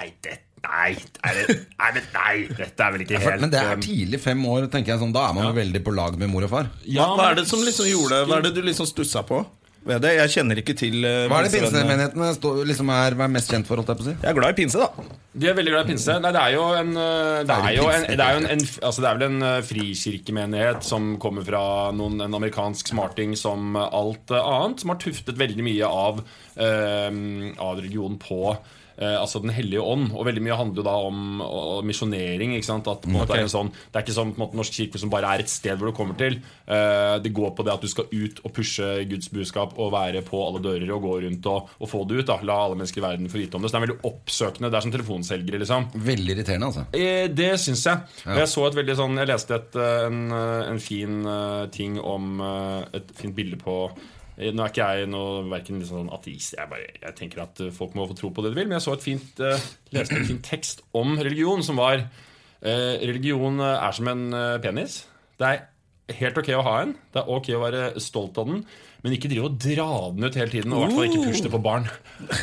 Speaker 5: Nei, det, nei, er det, nei, men nei, dette er vel ikke helt
Speaker 2: Men det
Speaker 5: eh,
Speaker 2: er tidlig fem år, tenker jeg sånn. Da er man jo veldig på lag med mor og far.
Speaker 5: ja,
Speaker 1: Hva er det som liksom gjorde Hva er det du liksom stussa på ved det? Jeg kjenner ikke til eh,
Speaker 2: Hva er det
Speaker 1: pinsevennene.
Speaker 2: pinsemenighetene står- liksom er, hva er mest kjent for, holdt jeg på å si?
Speaker 1: Jeg er glad i pinse, da.
Speaker 5: De er veldig glad i pinse. Nei, det er jo en øh, Det er jo en, det er jo en, en Altså, det er vel en øh, frikirkemenighet som kommer fra noen, en amerikansk smarting som øh, alt øh, annet, som har tuftet veldig mye av øh, Av religionen på øh, altså Den hellige ånd. Og veldig mye handler jo da om og- og misjonering. ikke sant? At på en måte er det, sånn, det er ikke sånn på en måte, Norsk kirke som bare er et sted hvor du kommer til. Eh, det går på det at du skal ut og pushe Guds budskap og være på alle dører og gå rundt og, og få det ut. da, La alle mennesker i verden få vite om det. Så det er veldig oppsøkende. Det er som telefonselgere, liksom.
Speaker 2: Veldig irriterende, altså.
Speaker 5: Eh, Det syns jeg. Og Jeg så et veldig sånn Jeg leste et, eh, en, eh, en fin eh, ting om eh, et fint bilde på eh, Nå er ikke jeg noe, hverken liksom sånn ateist jeg, bare, jeg tenker at eh, folk må få tro på det de vil, men jeg så et fint, eh, leste en fin tekst om religion som var eh, Religion eh, er som en eh, penis. Det er helt ok å ha en. Det er ok å være stolt av den. Men ikke drive og dra den ut hele tiden, og i hvert fall ikke pushe det på barn.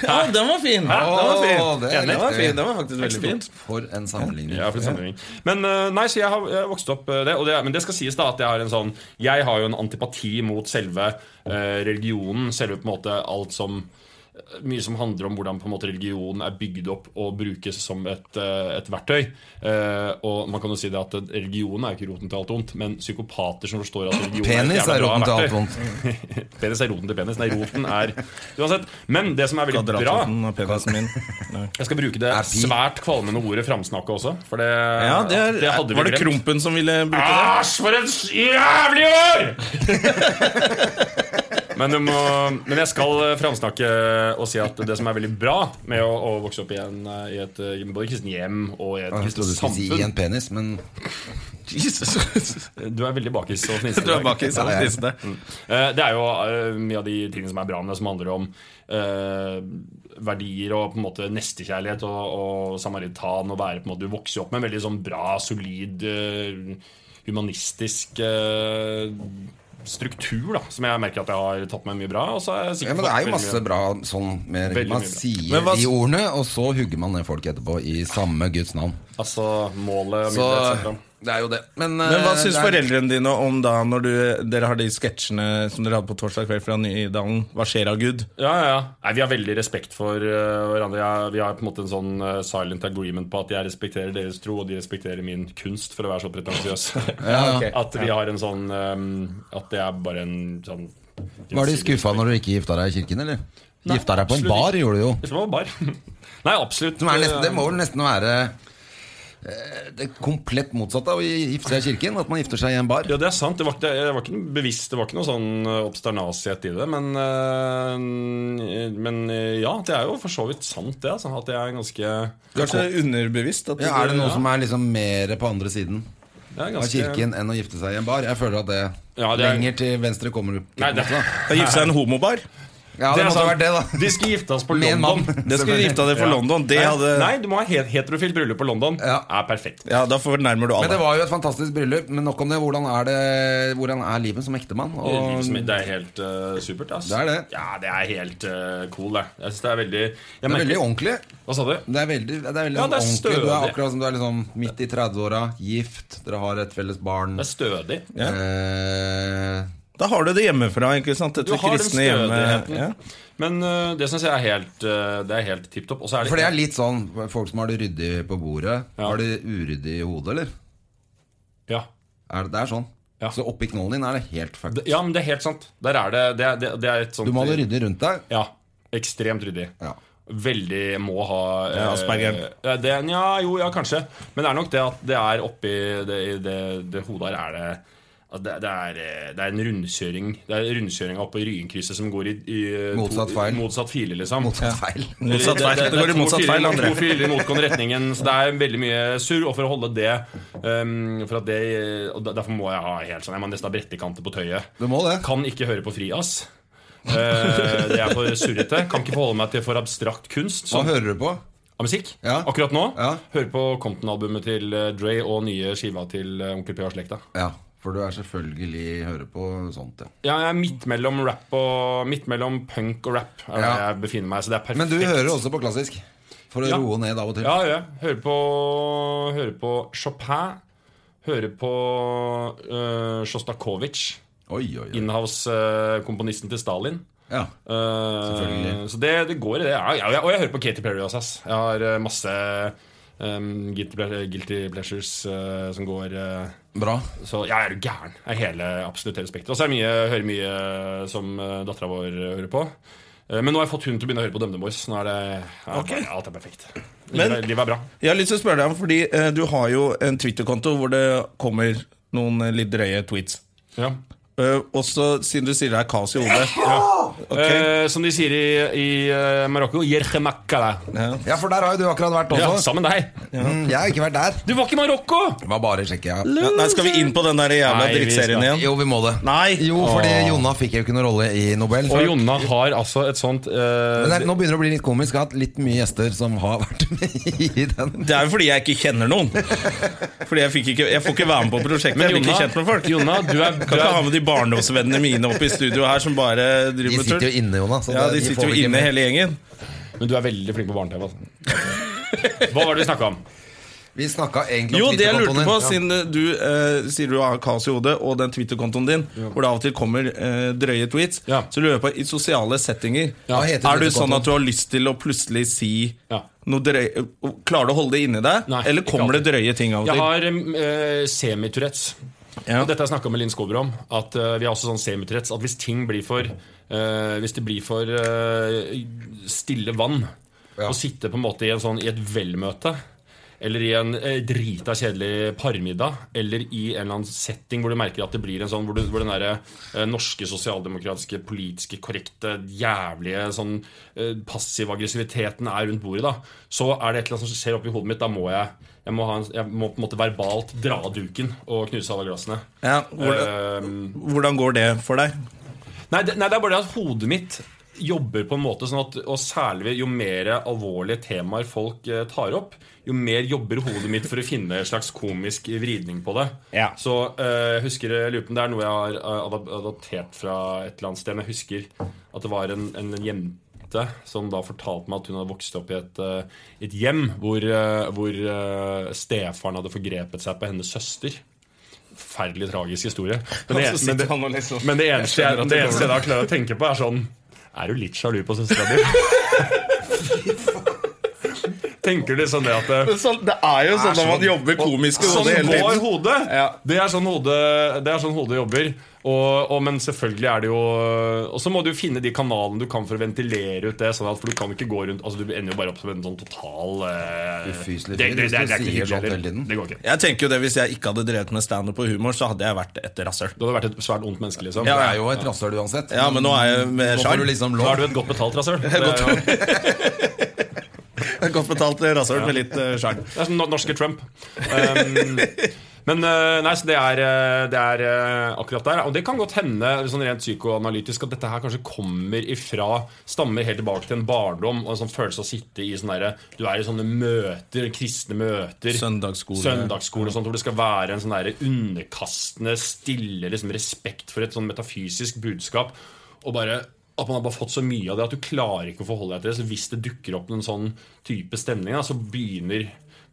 Speaker 1: Ja, den var fin! Den var fin.
Speaker 2: Å, det er
Speaker 1: Enig. Den var
Speaker 2: riktig.
Speaker 1: fin. Den var faktisk veldig fin.
Speaker 2: For en sammenligning.
Speaker 5: Ja, for sammenligning. Men eh, nei, så jeg har, jeg har vokst opp eh, det, og det. Men det skal sies da at jeg har en sånn Jeg har jo en antipati mot selve eh, religionen. Selve på en måte alt som eh, mye som handler om hvordan på en måte religion er bygd opp og brukes som et, eh, et verktøy. Eh, og man kan jo si det at religion er jo ikke roten til alt ondt, men psykopater som forstår at religion
Speaker 2: Penis
Speaker 5: et jævla
Speaker 2: er
Speaker 5: bra
Speaker 2: roten til
Speaker 5: verktøy.
Speaker 2: alt vondt.
Speaker 5: Penis er roten til penis. Nei, roten er Uansett. Men det som er veldig bra
Speaker 1: Kvadratroten av penisen min. Nei.
Speaker 5: Jeg skal bruke det
Speaker 2: Er pi.
Speaker 5: svært kvalmende ordet framsnakke også, for det,
Speaker 1: Ja, det er,
Speaker 5: hadde vi
Speaker 1: Var det
Speaker 5: glemt.
Speaker 1: Krompen som ville bruke det?
Speaker 5: Æsj, for et jævlig år! men, du må, men jeg skal eh, framsnakke og si at det som er veldig bra med å, å vokse opp i, en, eh, i et eh, både kristent hjem og i et
Speaker 2: Jeg trodde
Speaker 5: kristent
Speaker 2: du skulle si i en
Speaker 5: samfunn
Speaker 2: penis, men
Speaker 1: Jesus.
Speaker 5: Du er veldig bakis og fnisete.
Speaker 1: Du
Speaker 5: i
Speaker 1: er
Speaker 5: dag.
Speaker 1: bakis.
Speaker 2: Ja, ja.
Speaker 1: Ja,
Speaker 5: Eh, Det er jo eh, mye av de tingene som er bra med det, som handler om eh, verdier og på en måte nestekjærlighet og, og samaritan og være på en måte Du vokser jo opp med en veldig sånn bra, solid, eh, humanistisk eh, struktur, da, som jeg merker at jeg har tatt med mye bra. Og så er jeg
Speaker 2: ja,
Speaker 5: sikker
Speaker 2: men
Speaker 5: på
Speaker 2: det
Speaker 5: at
Speaker 2: er jo
Speaker 5: veldig
Speaker 2: masse
Speaker 5: mye-
Speaker 2: bra sånn med,
Speaker 5: Veldig
Speaker 2: Man
Speaker 5: mye bra.
Speaker 2: sier
Speaker 1: Men hva-
Speaker 2: de ordene, og så hugger man ned folk etterpå i samme Guds navn.
Speaker 5: Altså målet
Speaker 2: Så
Speaker 5: middelet, et cetera.
Speaker 2: det er jo det. Men,
Speaker 1: Men hva
Speaker 2: eh,
Speaker 1: syns
Speaker 2: det er-
Speaker 1: foreldrene dine om da når du, dere har de sketsjene som dere hadde på torsdag kveld fra Nydalen? Hva skjer av Gud?
Speaker 5: Ja, ja, ja. Nei, Vi har veldig respekt for eh, hverandre. Jeg, vi har på en måte en sånn eh, silent agreement på at jeg respekterer deres tro, og de respekterer min kunst, for å være så pretensiøs. At vi har en sånn eh, At det er bare en sånn
Speaker 2: Var de skuffa når du ikke gifta deg i kirken, eller? gifta deg på en
Speaker 5: absolutt
Speaker 2: bar,
Speaker 5: ikke.
Speaker 2: gjorde du jo.
Speaker 5: Det var bar. Nei, absolutt.
Speaker 2: Som er nesten, det må vel nesten være eh, det komplett motsatte av å gifte seg i kirken. At man gifter seg i en bar.
Speaker 5: Ja, det er sant. Det var, ikke, det var ikke noe bevisst, det var ikke noe sånn eh, obsternasighet i det. Men, eh, men eh, ja, det er jo for så vidt sant, det. Altså, at det er ganske,
Speaker 1: Kanskje underbevisst? At
Speaker 2: Ja, er det noe
Speaker 5: Ja. Altså,
Speaker 2: som er liksom mer på andre siden
Speaker 5: det er
Speaker 2: av
Speaker 5: ganske
Speaker 2: kirken enn å gifte seg i en bar? Jeg føler at det,
Speaker 5: Ja, det er-
Speaker 2: lenger til venstre kommer du ikke.
Speaker 5: Nei,
Speaker 2: på en
Speaker 5: det-
Speaker 2: måte, da.
Speaker 1: Da gifte seg en homobar?
Speaker 2: Ja, det,
Speaker 5: er
Speaker 2: måtte ha vært det,
Speaker 5: sant.
Speaker 2: da.
Speaker 5: De skulle gifte oss på
Speaker 2: Med en
Speaker 5: London.
Speaker 2: mann.
Speaker 1: Det skulle
Speaker 2: Selvfølgelig.
Speaker 1: gifta deg for
Speaker 5: Ja.
Speaker 1: London. Det
Speaker 5: nei,
Speaker 1: hadde
Speaker 5: nei, du må ha het heterofilt bryllup på London.
Speaker 2: Ja.
Speaker 5: Er perfekt.
Speaker 1: Ja, da fornærmer du
Speaker 2: Men
Speaker 1: alle.
Speaker 2: det var jo et fantastisk bryllup. Men nok om det. Hvordan er, det, hvordan er livet som ektemann? Og
Speaker 5: Det er helt eh, supert. Ass.
Speaker 2: Det er det.
Speaker 5: Ja, det er helt eh, cool, det. Jeg synes det er veldig
Speaker 2: det
Speaker 5: jeg
Speaker 2: er
Speaker 5: merker-
Speaker 2: veldig ordentlig.
Speaker 5: Hva sa du?
Speaker 2: Det er veldig, det er veldig
Speaker 5: Ja, det er
Speaker 2: ordentlig. Du er
Speaker 5: stødig.
Speaker 2: akkurat som du er liksom midt i 30-åra, gift, dere har et felles barn.
Speaker 5: Det er stødig.
Speaker 1: Ja.
Speaker 2: Eh,
Speaker 1: Da har du det hjemmefra. ikke sant?
Speaker 5: Du
Speaker 1: Dette
Speaker 5: har den
Speaker 1: kristne hjemme.
Speaker 5: stødigheten.
Speaker 1: Ja.
Speaker 5: Men eh, det syns jeg er helt, eh, Det er helt tipp topp. Og så er det
Speaker 2: For det er litt sånn Folk som har det ryddig på bordet,
Speaker 5: Ja.
Speaker 2: har det uryddig i hodet, eller?
Speaker 5: Ja.
Speaker 2: Er det, det er sånn.
Speaker 5: Ja.
Speaker 2: Så oppi knollen din er det helt fucked.
Speaker 5: Det- ja, men det er helt sant. Der er det Det, er- det, det er et sånt
Speaker 2: Du må ha det ryddig rundt deg.
Speaker 5: Ja. Ekstremt ryddig.
Speaker 2: Ja.
Speaker 5: Veldig må ha
Speaker 1: Det er aspergeren.
Speaker 5: eh, det, ja, jo, ja, kanskje. Men det er nok det at det er oppi det, i det, det hodet her er det at det, det, er, eh, det er en rundkjøring Det er rundkjøringa oppå Ryenkrysset som går i, i eh,
Speaker 2: Motsatt feil.
Speaker 5: motsatt file, liksom.
Speaker 2: Motsatt feil.
Speaker 1: Motsatt feil. Det går i
Speaker 5: to
Speaker 1: motsatt
Speaker 5: filer-
Speaker 1: feil, André.
Speaker 5: To filer i motgående retningen, så det er veldig mye surr. Og for å holde det, um, for at det og der- Derfor må jeg ha helt sånn Jeg må nesten ha brettekanter på tøyet.
Speaker 2: Du må det.
Speaker 5: Kan ikke høre på Frias. Eh, det er for surrete. Kan ikke forholde meg til for abstrakt kunst.
Speaker 2: Hva
Speaker 5: Sånn
Speaker 2: hører du på?
Speaker 5: av musikk.
Speaker 2: Ja.
Speaker 5: Akkurat nå.
Speaker 2: Ja.
Speaker 5: Hører på Compton-albumet til eh, Dre og nye skiva til eh, Onkel P og slekta.
Speaker 2: Ja, for du er selvfølgelig hører på sånt, ja.
Speaker 5: Ja, jeg er midt mellom rap og Midt mellom punk og rap. Er
Speaker 2: Ja.
Speaker 5: der jeg befinner meg, så det er perfekt.
Speaker 2: Men du hører også på klassisk. For å
Speaker 5: Ja.
Speaker 2: roe ned av og til.
Speaker 5: Ja, ja. Hører på, hører på Chopin. Hører på uh, Sjostakovitsj.
Speaker 2: Oi, oi, oi.
Speaker 5: Inhouse-komponisten til Stalin.
Speaker 2: Ja.
Speaker 5: Eh, så det, det går i det. Ja, ja, og jeg- og jeg hører på Katy Perry også. Ass. Jeg har eh, masse ehm, guilty, ple- guilty pleasures eh, som går eh,
Speaker 2: Bra.
Speaker 5: Så jeg er gæren. Jeg er hele, absolutt hele spekteret. Og så er det mye, hører mye eh, som uh, dattera vår eh, hører på. Eh, men nå har jeg fått hun til å begynne å høre på DumDum Boys. Nå er det, ja,
Speaker 1: Ok.
Speaker 5: alt er perfekt. Livet,
Speaker 1: Men-
Speaker 5: er- livet er bra.
Speaker 1: Jeg har lyst til å spørre deg om, fordi eh, du har jo en Twitter-konto hvor det kommer noen eh, litt drøye tweets.
Speaker 5: Ja.
Speaker 1: Eh, også siden du sier det er kaos i hodet. Ok.
Speaker 5: Eh, som de sier i, i eh, Marokko Jerkemakala.
Speaker 2: Ja, for der har jo du akkurat vært
Speaker 5: Ja,
Speaker 2: også.
Speaker 5: sammen med deg.
Speaker 2: Mm, jeg har ikke vært der.
Speaker 5: Du var ikke i Marokko!
Speaker 2: Det var bare å sjekke, ja.
Speaker 1: Nei, skal vi inn på den der jævla
Speaker 5: Nei, vi
Speaker 1: drittserien
Speaker 5: skal-
Speaker 1: igjen?
Speaker 2: Jo, vi må det.
Speaker 1: Nei.
Speaker 2: Jo, fordi Jonna fikk jo ikke noen rolle i Nobel.
Speaker 5: Og
Speaker 2: For-
Speaker 5: Jonna har altså et sånt
Speaker 2: Men
Speaker 5: eh,
Speaker 2: det, er- nå begynner det å bli litt komisk. Jeg har hatt litt mye gjester som har vært med i den.
Speaker 1: Det er jo fordi jeg ikke kjenner noen. Fordi jeg, fikk ikke, jeg får ikke være med på prosjektet. Jeg blir ikke kjent med folk.
Speaker 5: Jonna, du er, du
Speaker 1: Kan ikke ha
Speaker 5: er
Speaker 1: med de barndomsvennene mine opp i studio her som bare
Speaker 2: De
Speaker 1: driver med
Speaker 2: sitter jo
Speaker 1: tull.
Speaker 2: inne, Jonas. så
Speaker 1: Ja,
Speaker 2: det-
Speaker 1: de
Speaker 2: får
Speaker 1: sitter
Speaker 2: vi
Speaker 1: jo
Speaker 2: ikke
Speaker 1: inne
Speaker 2: med.
Speaker 1: hele gjengen.
Speaker 5: Men du er veldig flink på barne-TV. Altså. Hva var det vi snakka om?
Speaker 2: Vi snakka egentlig
Speaker 1: Jo,
Speaker 2: om
Speaker 1: det jeg lurte
Speaker 2: Twitter-kontoen
Speaker 1: på,
Speaker 2: din.
Speaker 1: siden du eh, sier du har kaos i hodet, og den Twitter-kontoen din, hvor det av og til kommer eh, drøye tweets,
Speaker 5: Ja.
Speaker 1: så lurer jeg på, i sosiale settinger,
Speaker 2: Hva
Speaker 5: Ja.
Speaker 2: heter
Speaker 1: er du sånn
Speaker 2: Twitter-kontoen?
Speaker 1: at du har lyst til å plutselig si
Speaker 5: Ja.
Speaker 1: noe drøye Klarer du å holde det inni deg,
Speaker 5: Nei,
Speaker 1: eller
Speaker 5: ikke
Speaker 1: kommer det
Speaker 5: alltid.
Speaker 1: drøye ting av og
Speaker 5: Jeg
Speaker 1: til?
Speaker 5: har eh, semi-Tourettes.
Speaker 1: Ja.
Speaker 5: Og dette har jeg snakka med Linn Skåber om. At eh, vi har også sånn semi-Tourettes At hvis ting blir for eh, Hvis det blir for eh, stille vann
Speaker 2: Ja.
Speaker 5: Å sitte på en måte i, en sånn, i et velmøte eller i en eh, drita kjedelig parmiddag. Eller i en eller annen setting hvor du merker at det blir en sånn Hvor, du, hvor den derre eh, norske sosialdemokratiske, politiske, korrekte, jævlige sånn eh, passiv aggressiviteten er rundt bordet, da. Så er det et eller annet som skjer oppi hodet mitt. Da må jeg jeg må, ha en, jeg må på en måte verbalt dra av duken og knuse alle glassene.
Speaker 1: Ja, hvordan,
Speaker 5: Ehm,
Speaker 1: hvordan går det for deg?
Speaker 5: Nei, det, nei, det er bare det at hodet mitt jobber på en måte sånn at Og særlig jo mer alvorlige temaer folk eh, tar opp, jo mer jobber hodet mitt for å finne en slags komisk vridning på det.
Speaker 1: Ja.
Speaker 5: Så eh, jeg husker jeg lurer på om det er noe jeg har eh, adap- adaptert fra et eller annet sted. Men jeg husker at det var en, en jente som da fortalte meg at hun hadde vokst opp i et, eh, et hjem hvor, eh, hvor eh, stefaren hadde forgrepet seg på hennes søster. Forferdelig tragisk historie. Men det, men det,
Speaker 1: sånn, liksom?
Speaker 5: men det eneste jeg, det eneste jeg da klarer å tenke på, er sånn Er du litt sjalu på søstera di? Tenker du sånn det at det-
Speaker 1: Sånn, det er jo sånn når man jobber komisk i
Speaker 5: Sånn
Speaker 1: hodet hele
Speaker 5: går
Speaker 1: tiden.
Speaker 5: hodet!
Speaker 1: Ja.
Speaker 5: Det er sånn hodet, det er sånn hodet jobber. Og, og, men selvfølgelig er det jo Og så må du jo finne de kanalene du kan for å ventilere ut det. Sånn at, for du kan ikke gå rundt Altså Du ender jo bare opp som en sånn total eh,
Speaker 2: Ufyselig fyr
Speaker 5: det, det,
Speaker 2: hvis
Speaker 5: det, det,
Speaker 2: du
Speaker 5: er ikke
Speaker 2: sier
Speaker 5: hyggelig
Speaker 2: sånt
Speaker 5: heller.
Speaker 2: hele tiden.
Speaker 5: Det går ikke.
Speaker 1: Jeg tenker jo det, Hvis jeg ikke hadde drevet med standup og humor, så hadde jeg vært et rasshøl.
Speaker 5: Du hadde vært et svært ondt menneske, liksom.
Speaker 2: Du
Speaker 1: Ja,
Speaker 2: er jo et rasshøl uansett.
Speaker 1: Ja, men nå er jeg med
Speaker 2: Nå får
Speaker 1: sjarm.
Speaker 2: du liksom
Speaker 5: Da er
Speaker 2: lov.
Speaker 5: Mm. du et godt betalt rasøl. Det,
Speaker 1: Godt-
Speaker 5: er jo-
Speaker 1: Godt betalt rasshøl med litt eh, sjarm.
Speaker 5: Det er som no- norske Trump. Um, men eh, nei, så det er, eh, det er eh, akkurat der. Og det kan godt hende sånn rent psykoanalytisk at dette her kanskje kommer ifra Stammer helt tilbake til en barndom og en sånn følelse av å sitte i sånn derre Du er i sånne møter, kristne møter.
Speaker 1: Søndagsskole.
Speaker 5: Søndagsskole og sånt, hvor det skal være en sånn derre underkastende, stille liksom respekt for et sånn metafysisk budskap. Og bare at man har bare fått så mye av det at du klarer ikke å forholde deg til det. Så hvis det dukker opp en sånn type stemning, da, så begynner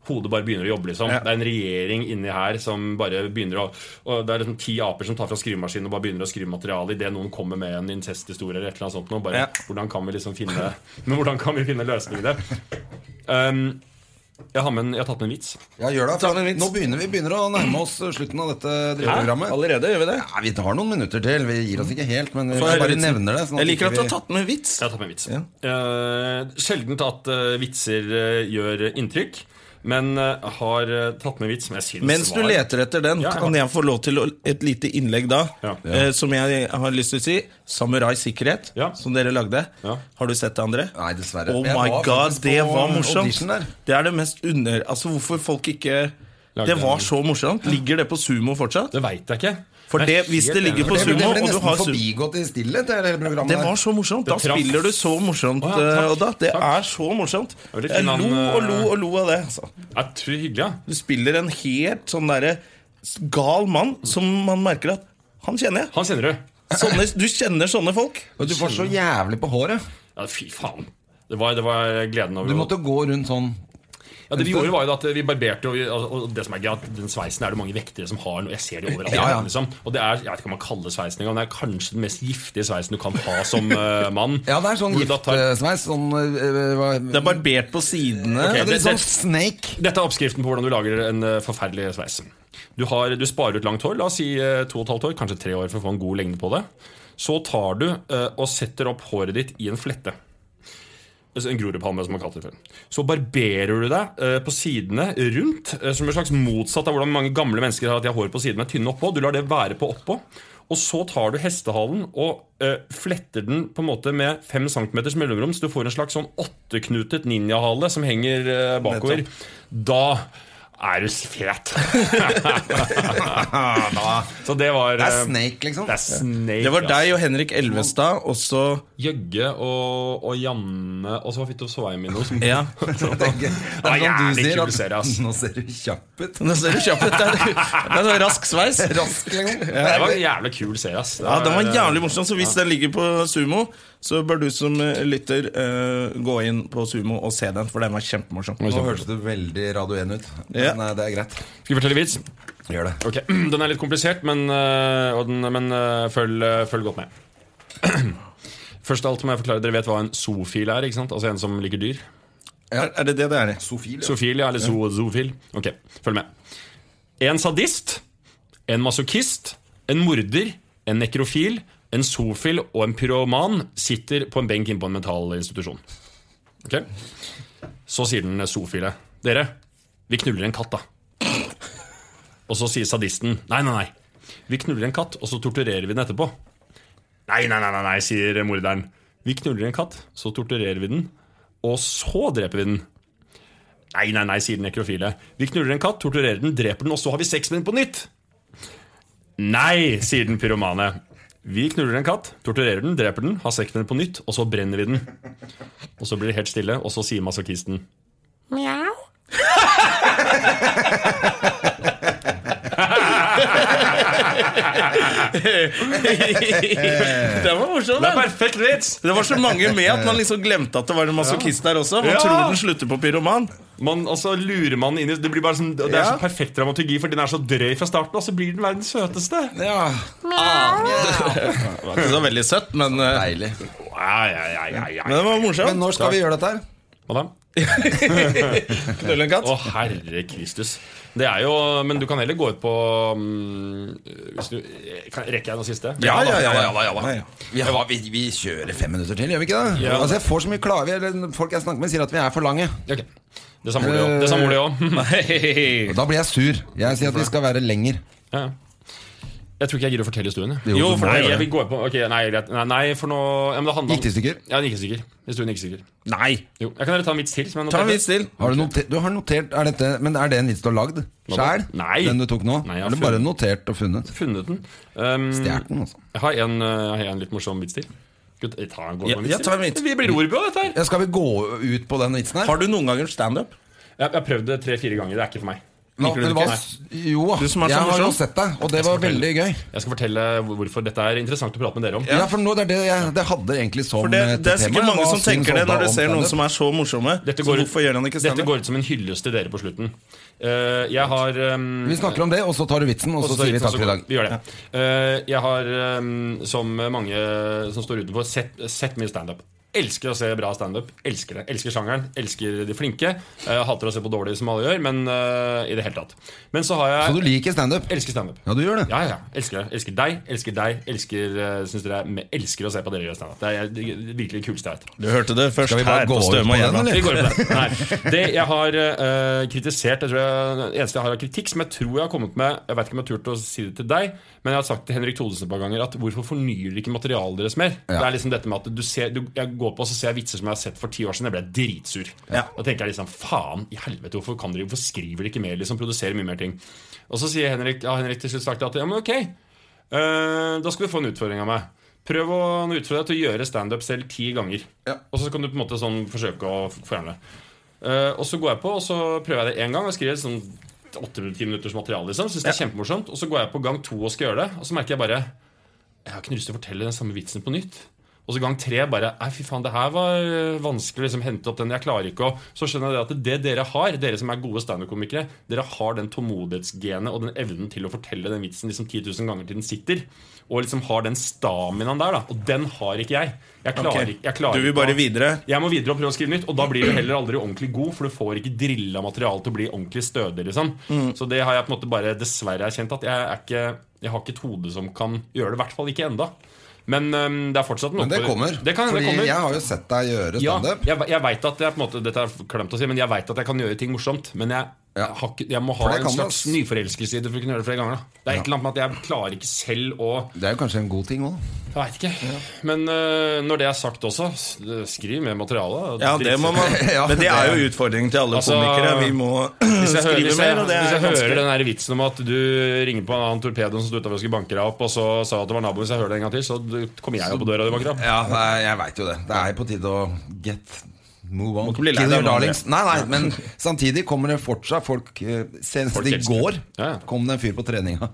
Speaker 5: Hodet bare begynner å jobbe. liksom
Speaker 1: Ja.
Speaker 5: Det er en regjering inni her som bare begynner å og Det er liksom ti aper som tar fra skrivemaskinen og bare begynner å skrive materiale idet noen kommer med en incesthistorie. eller et eller annet sånt nå, bare,
Speaker 1: Ja.
Speaker 5: hvordan kan vi liksom finne Men hvordan kan vi finne løsning i det? Um, Jeg har, med en, jeg har tatt med en vits.
Speaker 2: Ja, gjør det.
Speaker 1: Ta med en vits.
Speaker 2: Nå begynner vi begynner å nærme oss slutten av dette drivprogrammet.
Speaker 1: Allerede gjør vi det.
Speaker 2: Ja, vi tar noen minutter til. Vi gir oss ikke helt, men vi
Speaker 1: Får jeg
Speaker 2: bare
Speaker 1: vitsen?
Speaker 2: nevner det. sånn
Speaker 1: Jeg liker at
Speaker 2: ikke
Speaker 1: du
Speaker 2: vi-
Speaker 1: har tatt med en vits.
Speaker 5: Jeg har tatt med en vits.
Speaker 1: Ja.
Speaker 5: Eh, sjeldent at eh, vitser eh, gjør inntrykk, men eh, har eh, tatt med en vits som jeg syns
Speaker 1: Mens du
Speaker 5: var
Speaker 1: leter etter den,
Speaker 5: Ja, ja.
Speaker 1: kan jeg få lov til å- et lite innlegg da,
Speaker 5: Ja.
Speaker 1: eh, som jeg har lyst til å si. Samurai Sikkerhet,
Speaker 5: Ja.
Speaker 1: som dere lagde.
Speaker 5: Ja.
Speaker 1: Har du sett det, André?
Speaker 2: Nei, dessverre.
Speaker 1: Oh
Speaker 2: Jeg
Speaker 1: my
Speaker 2: var
Speaker 1: god,
Speaker 2: faktisk
Speaker 1: det
Speaker 2: på
Speaker 1: var
Speaker 2: audition der.
Speaker 1: morsomt. Det er det mest under... Altså, hvorfor folk ikke
Speaker 5: Lagde
Speaker 1: Det var
Speaker 5: den.
Speaker 1: så morsomt. Ligger det på sumo fortsatt?
Speaker 5: Det veit jeg ikke.
Speaker 1: For
Speaker 5: Jeg er
Speaker 1: det- hvis
Speaker 5: helt
Speaker 1: det
Speaker 5: enig
Speaker 1: ligger
Speaker 5: med
Speaker 1: på
Speaker 5: deg.
Speaker 2: Det ble, det
Speaker 1: Sumo, og
Speaker 2: ble
Speaker 1: du har
Speaker 2: nesten
Speaker 1: Sumo.
Speaker 2: forbigått i stillhet, det hele programmet
Speaker 1: Det
Speaker 2: her.
Speaker 1: var så morsomt. Da
Speaker 5: Det traff.
Speaker 1: spiller du så morsomt,
Speaker 5: Å ja, takk.
Speaker 1: eh, Odda. Det
Speaker 5: Takk.
Speaker 1: er så morsomt.
Speaker 5: var litt
Speaker 1: Jeg
Speaker 5: fin
Speaker 1: lo
Speaker 5: han, eh,
Speaker 1: og lo og lo av det. Altså.
Speaker 5: Jeg tror hyggelig, ja.
Speaker 1: Du spiller en helt sånn derre s- gal mann som man merker at han kjenner jeg.
Speaker 5: Han kjenner du.
Speaker 1: Sånne, du kjenner sånne folk.
Speaker 2: Og du var så jævlig på håret.
Speaker 5: Ja, fy faen. Det var, det var gleden over
Speaker 2: Du måtte gå rundt sånn.
Speaker 5: ja, Det vi gjorde, var jo at vi barberte, og, vi, og det som er gøy, at den sveisen er det mange vektere som har. nå. Jeg ser det overalt.
Speaker 2: Ja, ja.
Speaker 5: Liksom. Og det er, jeg vet ikke om man kaller det sveisen engang, men det er kanskje den mest giftige sveisen du kan ha som eh, mann.
Speaker 2: Ja, det er sånn
Speaker 5: Hvor du da tar-
Speaker 2: giftsveis. Sånn eh, hva-
Speaker 1: Det er barbert på sidene.
Speaker 5: Ok.
Speaker 2: ja, det
Speaker 5: det-
Speaker 2: er sånn
Speaker 5: det-
Speaker 2: snake.
Speaker 5: Dette er oppskriften på hvordan du lager en eh, forferdelig sveis. Du, har, du sparer ut langt hår, la oss si eh, to og et halvt år, kanskje tre år for å få en god lengde på det. Så tar du eh, og setter opp håret ditt i en flette. Altså En grorudpalme, som man kalte det før. Så barberer du deg eh, på sidene rundt, eh, som en slags motsatt av hvordan mange gamle mennesker har at de har hår på sidene, tynne oppå. Du lar det være på oppå. Og så tar du hestehalen og eh, fletter den på en måte med fem centimeters mellomrom, så du får en slags sånn åtteknutet ninjahale som henger eh, bakover. Da er du fet! så det var
Speaker 2: Det er
Speaker 5: eh,
Speaker 2: snake, liksom.
Speaker 5: Det er snake,
Speaker 1: Det var
Speaker 5: ass.
Speaker 1: deg og Henrik Elvestad, og så
Speaker 5: Jøgge og, og Janne Og så var Fitto Sveimino som
Speaker 1: Ja.
Speaker 2: Det er, det er
Speaker 5: Ja,
Speaker 2: sånn du
Speaker 5: jævlig
Speaker 2: sier
Speaker 5: kul
Speaker 2: at
Speaker 5: serie, ass.
Speaker 2: Nå ser du kjapp ut.
Speaker 1: Nå ser du kjapt ut. Det er det er sånn rask sveis.
Speaker 2: Rask, liksom.
Speaker 5: Det var en jævlig kul serie, ass.
Speaker 1: Ja, Den var jævlig morsom, så hvis den ligger på Sumo, så bør du som eh, lytter eh, gå inn på Sumo og se den, for den var kjempemorsom.
Speaker 2: Nå hørtes du veldig Radio 1 ut. Men
Speaker 1: Ja.
Speaker 2: eh, det er greit.
Speaker 5: Skal vi fortelle vits?
Speaker 2: Gjør det.
Speaker 5: Ok, Den er litt komplisert, men, øh, og den, men øh, følg, øh, følg godt med. Først av alt må jeg forklare, Dere vet hva en zoofil er? ikke sant? Altså en som liker dyr?
Speaker 1: Er, er det det det er?
Speaker 2: Sofil. ja.
Speaker 5: Zoofil, ja, eller zo zoofil. Ok, følg med. En sadist, en masochist, en morder, en nekrofil, en zoofil og en pyroman sitter på en benk inne på en mental institusjon. Ok? Så sier den zoofile Dere, vi knuller en katt, da. Og så sier sadisten Nei, nei, nei. Vi knuller en katt, og så torturerer vi den etterpå. Nei, nei, nei, nei, nei sier morderen. Vi knuller en katt, så torturerer vi den, og så dreper vi den. Nei, nei, nei, sier den nekrofile. Vi knuller en katt, torturerer den, dreper den, og så har vi sex med den på nytt. Nei, sier den pyromane. Vi knuller en katt, torturerer den, dreper den, har sex med den på nytt, og så brenner vi den. Og så blir det helt stille, og så sier masochisten
Speaker 1: Den var morsom,
Speaker 5: Det er
Speaker 1: den.
Speaker 5: perfekt vits!
Speaker 1: Det var så mange med at man liksom glemte at det var en masochist der også. Man
Speaker 5: Ja.
Speaker 1: tror den slutter på pyroman.
Speaker 5: Man, altså, lurer man inn i Det blir bare sånn, det er
Speaker 1: Ja.
Speaker 5: så perfekt dramaturgi, for den er så drøy fra starten, og så blir den verdens søteste.
Speaker 2: Ja,
Speaker 1: Det var ikke så veldig søtt, men, eh,
Speaker 2: deilig.
Speaker 5: Ai, ai, ai, ai,
Speaker 1: men
Speaker 5: ai.
Speaker 1: den var
Speaker 2: Men
Speaker 1: morsom.
Speaker 2: når skal vi gjøre dette her?
Speaker 5: Hva da?
Speaker 1: Knull en katt.
Speaker 5: Å, herre Kristus. Det er jo Men du kan heller gå ut på mm, hvis du, kan, Rekker jeg noe siste?
Speaker 1: Ja, ja, ja, ja,
Speaker 2: da, ja, da. Vi, har, vi, vi kjører fem minutter til, gjør vi ikke det?
Speaker 5: Ja.
Speaker 2: Altså, jeg får så mye klage, eller Folk jeg snakker med, sier at vi er for lange.
Speaker 5: Ok. Det sa mor di òg. Det sa mor di
Speaker 1: Eh,
Speaker 5: òg.
Speaker 2: Og da blir jeg sur. Jeg sier at vi skal være lenger.
Speaker 5: Ja, ja. Jeg tror ikke jeg gidder å fortelle historien. jeg.
Speaker 2: Jo, du må
Speaker 5: nei,
Speaker 2: gjøre
Speaker 5: jeg
Speaker 2: det.
Speaker 5: vil gå på Ok, nei, greit. Nei, nei for nå ja, men det handler om-
Speaker 2: Gikk det i stykker?
Speaker 5: Ja, den gikk i stykker. Historien gikk i stykker.
Speaker 1: Nei!
Speaker 5: Jo, jeg kan heller ta en vits til. Som jeg
Speaker 1: Ta en
Speaker 5: noterte.
Speaker 1: vits til.
Speaker 2: Har du, noter, du har notert er dette, Men er det en vits du har lagd sjæl?
Speaker 5: Nei.
Speaker 2: Den du tok nå?
Speaker 5: Nei, jeg
Speaker 2: er
Speaker 5: har
Speaker 2: det bare notert og funnet?
Speaker 5: Funnet den. Um,
Speaker 2: Stjålet den,
Speaker 1: Mm.
Speaker 2: altså.
Speaker 5: jeg har en, uh, jeg har en litt morsom vits til. Skal vi ta en, gå
Speaker 1: Ja,
Speaker 5: på en vits
Speaker 1: ja,
Speaker 5: til?
Speaker 1: ta en vits.
Speaker 5: Vi blir Rorbu av dette her.
Speaker 2: Ja, skal vi gå ut på den vitsen her?
Speaker 1: Har du noen gang gjort standup?
Speaker 5: Jeg jeg har prøvd det tre-fire ganger. Det er ikke for meg.
Speaker 2: Nå,
Speaker 1: Liker du det
Speaker 2: det var-
Speaker 1: ikke?
Speaker 2: Jo,
Speaker 1: Du som er så
Speaker 2: jeg har jo
Speaker 1: morsom.
Speaker 2: sett deg, og det var veldig gøy.
Speaker 5: Jeg skal fortelle hvor- hvorfor dette er interessant å prate med dere om.
Speaker 2: Ja, for nå, det, er det, jeg, det hadde egentlig som
Speaker 1: For det,
Speaker 2: eh,
Speaker 1: det er sikkert
Speaker 2: tema.
Speaker 1: mange
Speaker 2: Hva
Speaker 1: som
Speaker 2: syns
Speaker 1: tenker det
Speaker 2: Odda
Speaker 1: når de
Speaker 2: om
Speaker 1: ser noen
Speaker 2: standup?
Speaker 1: som er så morsomme.
Speaker 5: Dette
Speaker 1: Så
Speaker 5: går,
Speaker 1: hvorfor gjør han ikke
Speaker 5: dette
Speaker 1: standup?
Speaker 5: går ut som en hyllest til dere på slutten. Eh, jeg har um,
Speaker 2: Vi snakker om det, og så tar du vitsen, og så sier vi takk for i dag.
Speaker 5: Vi gjør det. ehm, Eh, jeg har, um, som mange som står utenfor, sett, sett mye standup. Elsker å se bra standup. Elsker det. Elsker sjangeren. Elsker de flinke. Eh, hater å se på dårlige som alle gjør, men eh, i det hele tatt. Men så har
Speaker 2: Så du
Speaker 5: jeg
Speaker 2: liker standup?
Speaker 5: Elsker standup.
Speaker 2: Ja, du gjør det?
Speaker 5: Ja, ja, ja. Elsker det. Elsker deg, elsker deg. Elsker, eh, synes dere, er me- elsker å se på dere gjøre standup. Det er det er virkelig det kuleste jeg vet.
Speaker 1: Du hørte det først
Speaker 2: Skal vi bare
Speaker 1: her
Speaker 2: gå
Speaker 1: på
Speaker 2: over
Speaker 1: Støme og
Speaker 2: på den,
Speaker 1: Gjerman.
Speaker 2: eller?
Speaker 5: Vi går over på det. Nei. Det jeg har eh, kritisert jeg tror jeg, Det eneste jeg har av kritikk, som jeg tror jeg har kommet med Jeg vet ikke om jeg har turt å si det til deg, men jeg har sagt til Henrik Thodesen et par ganger at hvorfor fornyer dere ikke materialet deres mer? Det er liksom dette med at du ser, du, jeg går på og så ser jeg vitser som jeg har sett for ti år siden. Jeg ble dritsur. Da tenker jeg liksom faen i helvete, hvorfor, kan dere, hvorfor skriver dere ikke mer? Liksom Produserer mye mer ting. Og så sier Henrik, ja, Henrik til slutt sagt at ja, men ok. Eh, da skal du få en utfordring av meg. Prøv å nå utfordre deg til å gjøre standup selv ti ganger.
Speaker 2: Ja.
Speaker 5: Og så kan du på en måte sånn forsøke å f- forandre. Eh, og så går jeg på, og så prøver jeg det én gang og skriver sånn åtte-ti minutters materiale. liksom Synes det er kjempemorsomt Og så går jeg på gang to og skal gjøre det, og så merker jeg bare Jeg har ikke lyst til å fortelle den samme vitsen på nytt. Og så gang tre bare Nei, fy faen, det her var øh, vanskelig å liksom, hente opp den. Jeg klarer ikke å Så skjønner jeg det at det dere har, dere som er gode standup-komikere, dere har den tålmodighetsgenet og den evnen til å fortelle den vitsen liksom 10 000 ganger til den sitter. Og liksom har den staminaen der, da. Og den har ikke jeg. Jeg klarer,
Speaker 1: Ok.
Speaker 5: ikke- jeg klarer
Speaker 1: Du vil
Speaker 5: ikke å-
Speaker 1: bare videre.
Speaker 5: jeg må videre og prøve å skrive nytt, og da blir du heller aldri ordentlig god, for du får ikke drilla materiale til å bli ordentlig stødig. Liksom.
Speaker 2: Mm.
Speaker 5: Så det har jeg på en måte bare dessverre erkjent at jeg, er ikke, jeg har ikke et hode som kan gjøre det. I hvert fall ikke enda Men øhm, det er fortsatt noe
Speaker 2: Men det
Speaker 5: på-
Speaker 2: kommer.
Speaker 5: Det kan,
Speaker 2: Fordi
Speaker 5: det kommer.
Speaker 2: jeg har jo sett deg gjøre
Speaker 5: Ja,
Speaker 2: standup.
Speaker 5: jeg, jeg vet at jeg på en måte Dette er klemt å si, men jeg vet at jeg kan gjøre ting morsomt. Men jeg,
Speaker 2: Ja.
Speaker 5: har ikke, jeg
Speaker 2: For
Speaker 5: må ha
Speaker 2: det
Speaker 5: en
Speaker 2: kan du,
Speaker 5: slags
Speaker 2: ass.
Speaker 5: nyforelskelse i det for å kunne gjøre det flere ganger. Da. Det er et eller annet med at jeg klarer ikke selv å
Speaker 2: Det er jo kanskje en god ting òg.
Speaker 5: Jeg veit ikke. Men øh, når det er sagt også, s- skriv mer materiale. og
Speaker 1: Ja, det må man.
Speaker 2: Ja,
Speaker 1: Men det er
Speaker 2: det-
Speaker 1: jo utfordringen til alle
Speaker 5: Altså,
Speaker 1: komikere. Vi må
Speaker 5: Hvis jeg, hører,
Speaker 1: skrive
Speaker 5: hvis jeg,
Speaker 1: mer, og det
Speaker 5: hvis
Speaker 1: er
Speaker 5: jeg hører
Speaker 1: vanskelig.
Speaker 5: den her vitsen om at du ringer på en annen torpedo som sto utenfor og skulle banke deg opp, og så sa at det var naboen, hvis jeg hører det en gang til, så du- kommer jeg opp på døra og du banker opp.
Speaker 2: Ja, nei, jeg veit jo det. Det er på tide å get move on.
Speaker 1: ikke bli lei
Speaker 2: Kill
Speaker 1: deg
Speaker 2: your
Speaker 1: nå,
Speaker 2: darlings. Nei, nei, men samtidig kommer det fortsatt folk eh, Senest
Speaker 5: Folk
Speaker 2: i
Speaker 5: elsker.
Speaker 2: går
Speaker 5: Ja, ja.
Speaker 2: kom det en fyr på treninga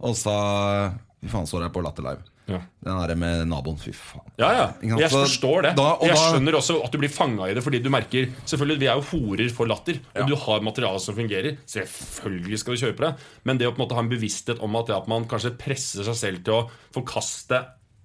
Speaker 2: og sa Fy faen, så deg på Latter Live.
Speaker 5: Ja.
Speaker 2: Den derre med naboen. Fy faen.
Speaker 5: Ja, ja.
Speaker 2: Ikke sant,
Speaker 5: Jeg
Speaker 2: så
Speaker 5: forstår det.
Speaker 2: da- og
Speaker 5: og jeg
Speaker 2: da-
Speaker 5: skjønner også at du blir fanga i det, fordi du merker Selvfølgelig, vi er jo horer for latter, og du har materiale som fungerer. Selvfølgelig skal du kjøpe det, men det å på en måte ha en bevissthet om at, det at man kanskje presser seg selv til å forkaste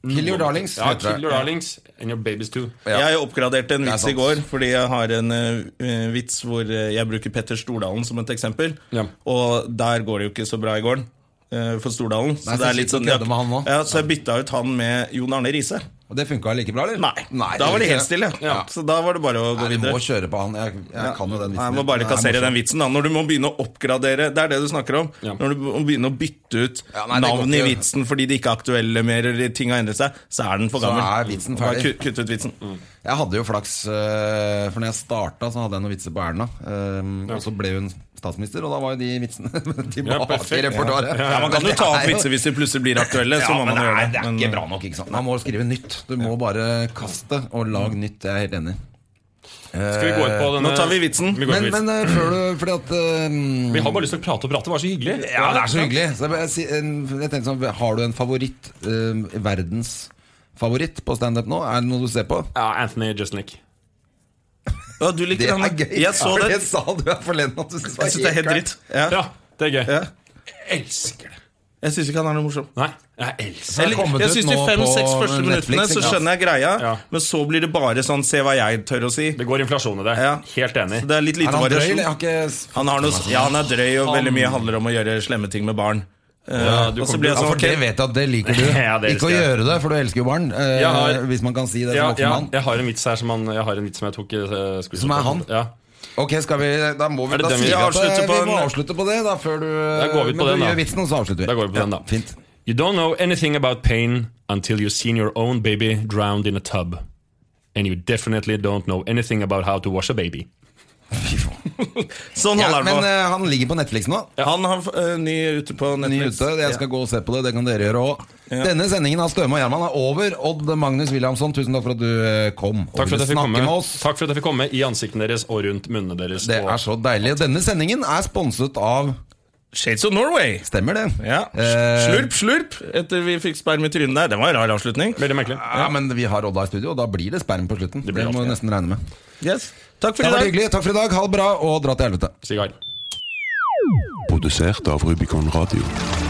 Speaker 2: Kill your darlings,
Speaker 5: Ja,
Speaker 2: heter det.
Speaker 5: kill your darlings. And your babies too.
Speaker 2: Ja.
Speaker 1: Jeg oppgraderte en
Speaker 2: er
Speaker 1: vits i
Speaker 2: sant.
Speaker 1: går, fordi jeg har en eh, vits hvor eh, jeg bruker Petter Stordalen som et eksempel.
Speaker 5: Ja.
Speaker 1: Og der går det jo ikke så bra i gården eh, for Stordalen. så,
Speaker 2: Nei,
Speaker 1: det
Speaker 2: så
Speaker 1: er litt sånn,
Speaker 2: sitter og kødder med han nå.
Speaker 1: ja, så jeg bytta ut han med Jon Arne Riise.
Speaker 2: Og det funka like bra, eller?
Speaker 1: Nei. da var det helt stille.
Speaker 5: Ja.
Speaker 1: Så da var det bare å gå
Speaker 2: Nei, vi må
Speaker 1: videre.
Speaker 2: kjøre på han. Jeg, jeg kan jo den vitsen.
Speaker 1: Nei, jeg må bare
Speaker 2: Nei,
Speaker 1: kassere
Speaker 2: morsom.
Speaker 1: den vitsen. da Når du må begynne å oppgradere Det er det du snakker om.
Speaker 5: Ja.
Speaker 1: Når du må begynne å bytte ut
Speaker 2: Ja, nei, det går
Speaker 1: navn i
Speaker 2: ikke.
Speaker 1: vitsen fordi de ikke er aktuelle mer, eller ting har endret seg, så er den for
Speaker 2: Så
Speaker 1: gammel.
Speaker 2: er vitsen
Speaker 1: Bare
Speaker 2: ferdig.
Speaker 1: Kutt, kutt ut vitsen.
Speaker 2: Jeg hadde jo flaks, eh, for når jeg starta, så hadde jeg noen vitser på Erna. eh, Og så ble hun statsminister, og da var jo de vitsene tilbake i
Speaker 5: perfekt.
Speaker 2: repertoaret.
Speaker 1: Ja, man kan jo
Speaker 2: Men
Speaker 1: ta
Speaker 2: det
Speaker 1: opp
Speaker 2: er jo-
Speaker 1: vitser hvis de plutselig blir aktuelle.
Speaker 2: Ja,
Speaker 1: så må
Speaker 2: men
Speaker 1: man gjøre
Speaker 2: nei,
Speaker 1: det.
Speaker 2: det er
Speaker 1: Men-
Speaker 2: ikke bra nok, ikke sant. Man må skrive nytt. Du må bare kaste og lage nytt. Jeg er helt enig.
Speaker 5: Skal vi gå ut
Speaker 2: Eh,
Speaker 5: på denne
Speaker 1: Nå tar vi vitsen.
Speaker 5: Vi, går
Speaker 2: Men,
Speaker 5: på vitsen.
Speaker 2: men eh, før du Fordi at eh,
Speaker 5: vi har bare lyst til å prate og prate. Det var så hyggelig.
Speaker 2: Ja, det er så hyggelig. Så jeg, bare si- en- jeg tenkte sånn, Har du en favoritt? eh, verdens favoritt på standup nå? Er det noe du ser på?
Speaker 5: Ja, Anthony Justinick.
Speaker 1: Ja, du likte
Speaker 2: Det er
Speaker 1: den.
Speaker 2: gøy.
Speaker 1: Jeg så
Speaker 2: For
Speaker 1: det.
Speaker 2: det sa du her forleden at du synes
Speaker 1: Jeg syns det er helt dritt. Ja.
Speaker 5: Ja, det er gøy.
Speaker 1: Ja.
Speaker 5: Jeg elsker det.
Speaker 1: Jeg syns ikke han er noe morsom.
Speaker 5: Nei, jeg elsker det.
Speaker 2: Eller-
Speaker 1: Eller,
Speaker 2: kommet
Speaker 1: jeg
Speaker 2: ut
Speaker 1: synes De
Speaker 2: nå på
Speaker 1: fem-seks første
Speaker 2: Netflix,
Speaker 1: minuttene så
Speaker 2: ikke sant?
Speaker 1: skjønner jeg greia,
Speaker 5: Ja.
Speaker 1: men så blir det bare sånn 'se hva jeg tør å si'.
Speaker 5: Det går inflasjon i det.
Speaker 1: Ja.
Speaker 5: Helt enig.
Speaker 1: Så det er litt
Speaker 2: Er
Speaker 1: lite
Speaker 2: han drøy, eller? Jeg
Speaker 1: variasjon.
Speaker 2: har ikke
Speaker 1: Han, har noe, ja, han er drøy, og veldig mye handler om å gjøre slemme ting med barn. Eh,
Speaker 5: du
Speaker 1: og så
Speaker 5: kommer
Speaker 1: blir jeg
Speaker 2: Ja,
Speaker 1: sånn,
Speaker 2: for det
Speaker 1: ok,
Speaker 2: vet jeg at det liker du.
Speaker 5: Ja, det
Speaker 2: ikke å
Speaker 5: elsker jeg.
Speaker 2: gjøre det, for du elsker jo barn. eh,
Speaker 5: Jeg har-
Speaker 2: hvis man kan si det
Speaker 5: Ja,
Speaker 2: som
Speaker 5: ja,
Speaker 2: voksen sånn mann.
Speaker 5: jeg har en vits her som, han, jeg, har en vits som jeg tok i eh, skuespillet.
Speaker 2: Som er han?
Speaker 5: Ja.
Speaker 2: Ok, skal vi Da må vi
Speaker 5: Er det
Speaker 2: da
Speaker 5: den vi
Speaker 2: si
Speaker 5: skal
Speaker 2: at
Speaker 1: avslutte
Speaker 2: eh,
Speaker 1: på
Speaker 2: vi må
Speaker 1: en-
Speaker 2: avslutte på det, da, før du
Speaker 5: Da går vi på
Speaker 2: Men
Speaker 5: den,
Speaker 2: du
Speaker 5: da.
Speaker 2: gjør vitsen, og så avslutter vi.
Speaker 5: Da går vi på den, da.
Speaker 2: Fint.
Speaker 5: You don't know anything about pain until you've seen your own baby drowned in a tub. And you definitely don't know anything about how to wash a baby.
Speaker 1: Sånn
Speaker 2: Ja,
Speaker 1: holder
Speaker 2: men
Speaker 1: han på.
Speaker 2: eh, han ligger på Netflix nå.
Speaker 1: Han har eh, ny ute på
Speaker 2: Ny
Speaker 1: Netflix.
Speaker 2: ute. Jeg skal gå og se på det. Det kan dere gjøre òg. Denne sendingen av Støme og Gjerman er over. Odd Magnus Williamson, tusen takk for at du eh, kom og
Speaker 5: Takk for, at
Speaker 2: ville
Speaker 5: jeg fikk
Speaker 2: snakke
Speaker 5: komme.
Speaker 2: med oss.
Speaker 5: Takk for at jeg fikk komme i ansiktene deres og rundt munnene deres.
Speaker 2: Det
Speaker 5: og-
Speaker 2: er så deilig. Denne sendingen er sponset av
Speaker 1: Shades of Norway.
Speaker 2: Stemmer det?
Speaker 1: Ja.
Speaker 2: Eh,
Speaker 1: Slurp, slurp, etter vi fikk sperm i trynet der. Det var en rar avslutning.
Speaker 5: Veldig merkelig.
Speaker 2: Ja, men vi har Odda i studio, og da blir det sperm på slutten. Det,
Speaker 5: Det blir
Speaker 2: må
Speaker 5: alltid
Speaker 2: vi
Speaker 5: det.
Speaker 2: nesten regne med.
Speaker 1: Yes. Takk for
Speaker 2: Det
Speaker 1: i
Speaker 2: var
Speaker 1: dag.
Speaker 2: hyggelig. Takk for i dag. Ha det bra, og dra til helvete.
Speaker 5: Sigar.
Speaker 6: Produsert av Rubicon Radio.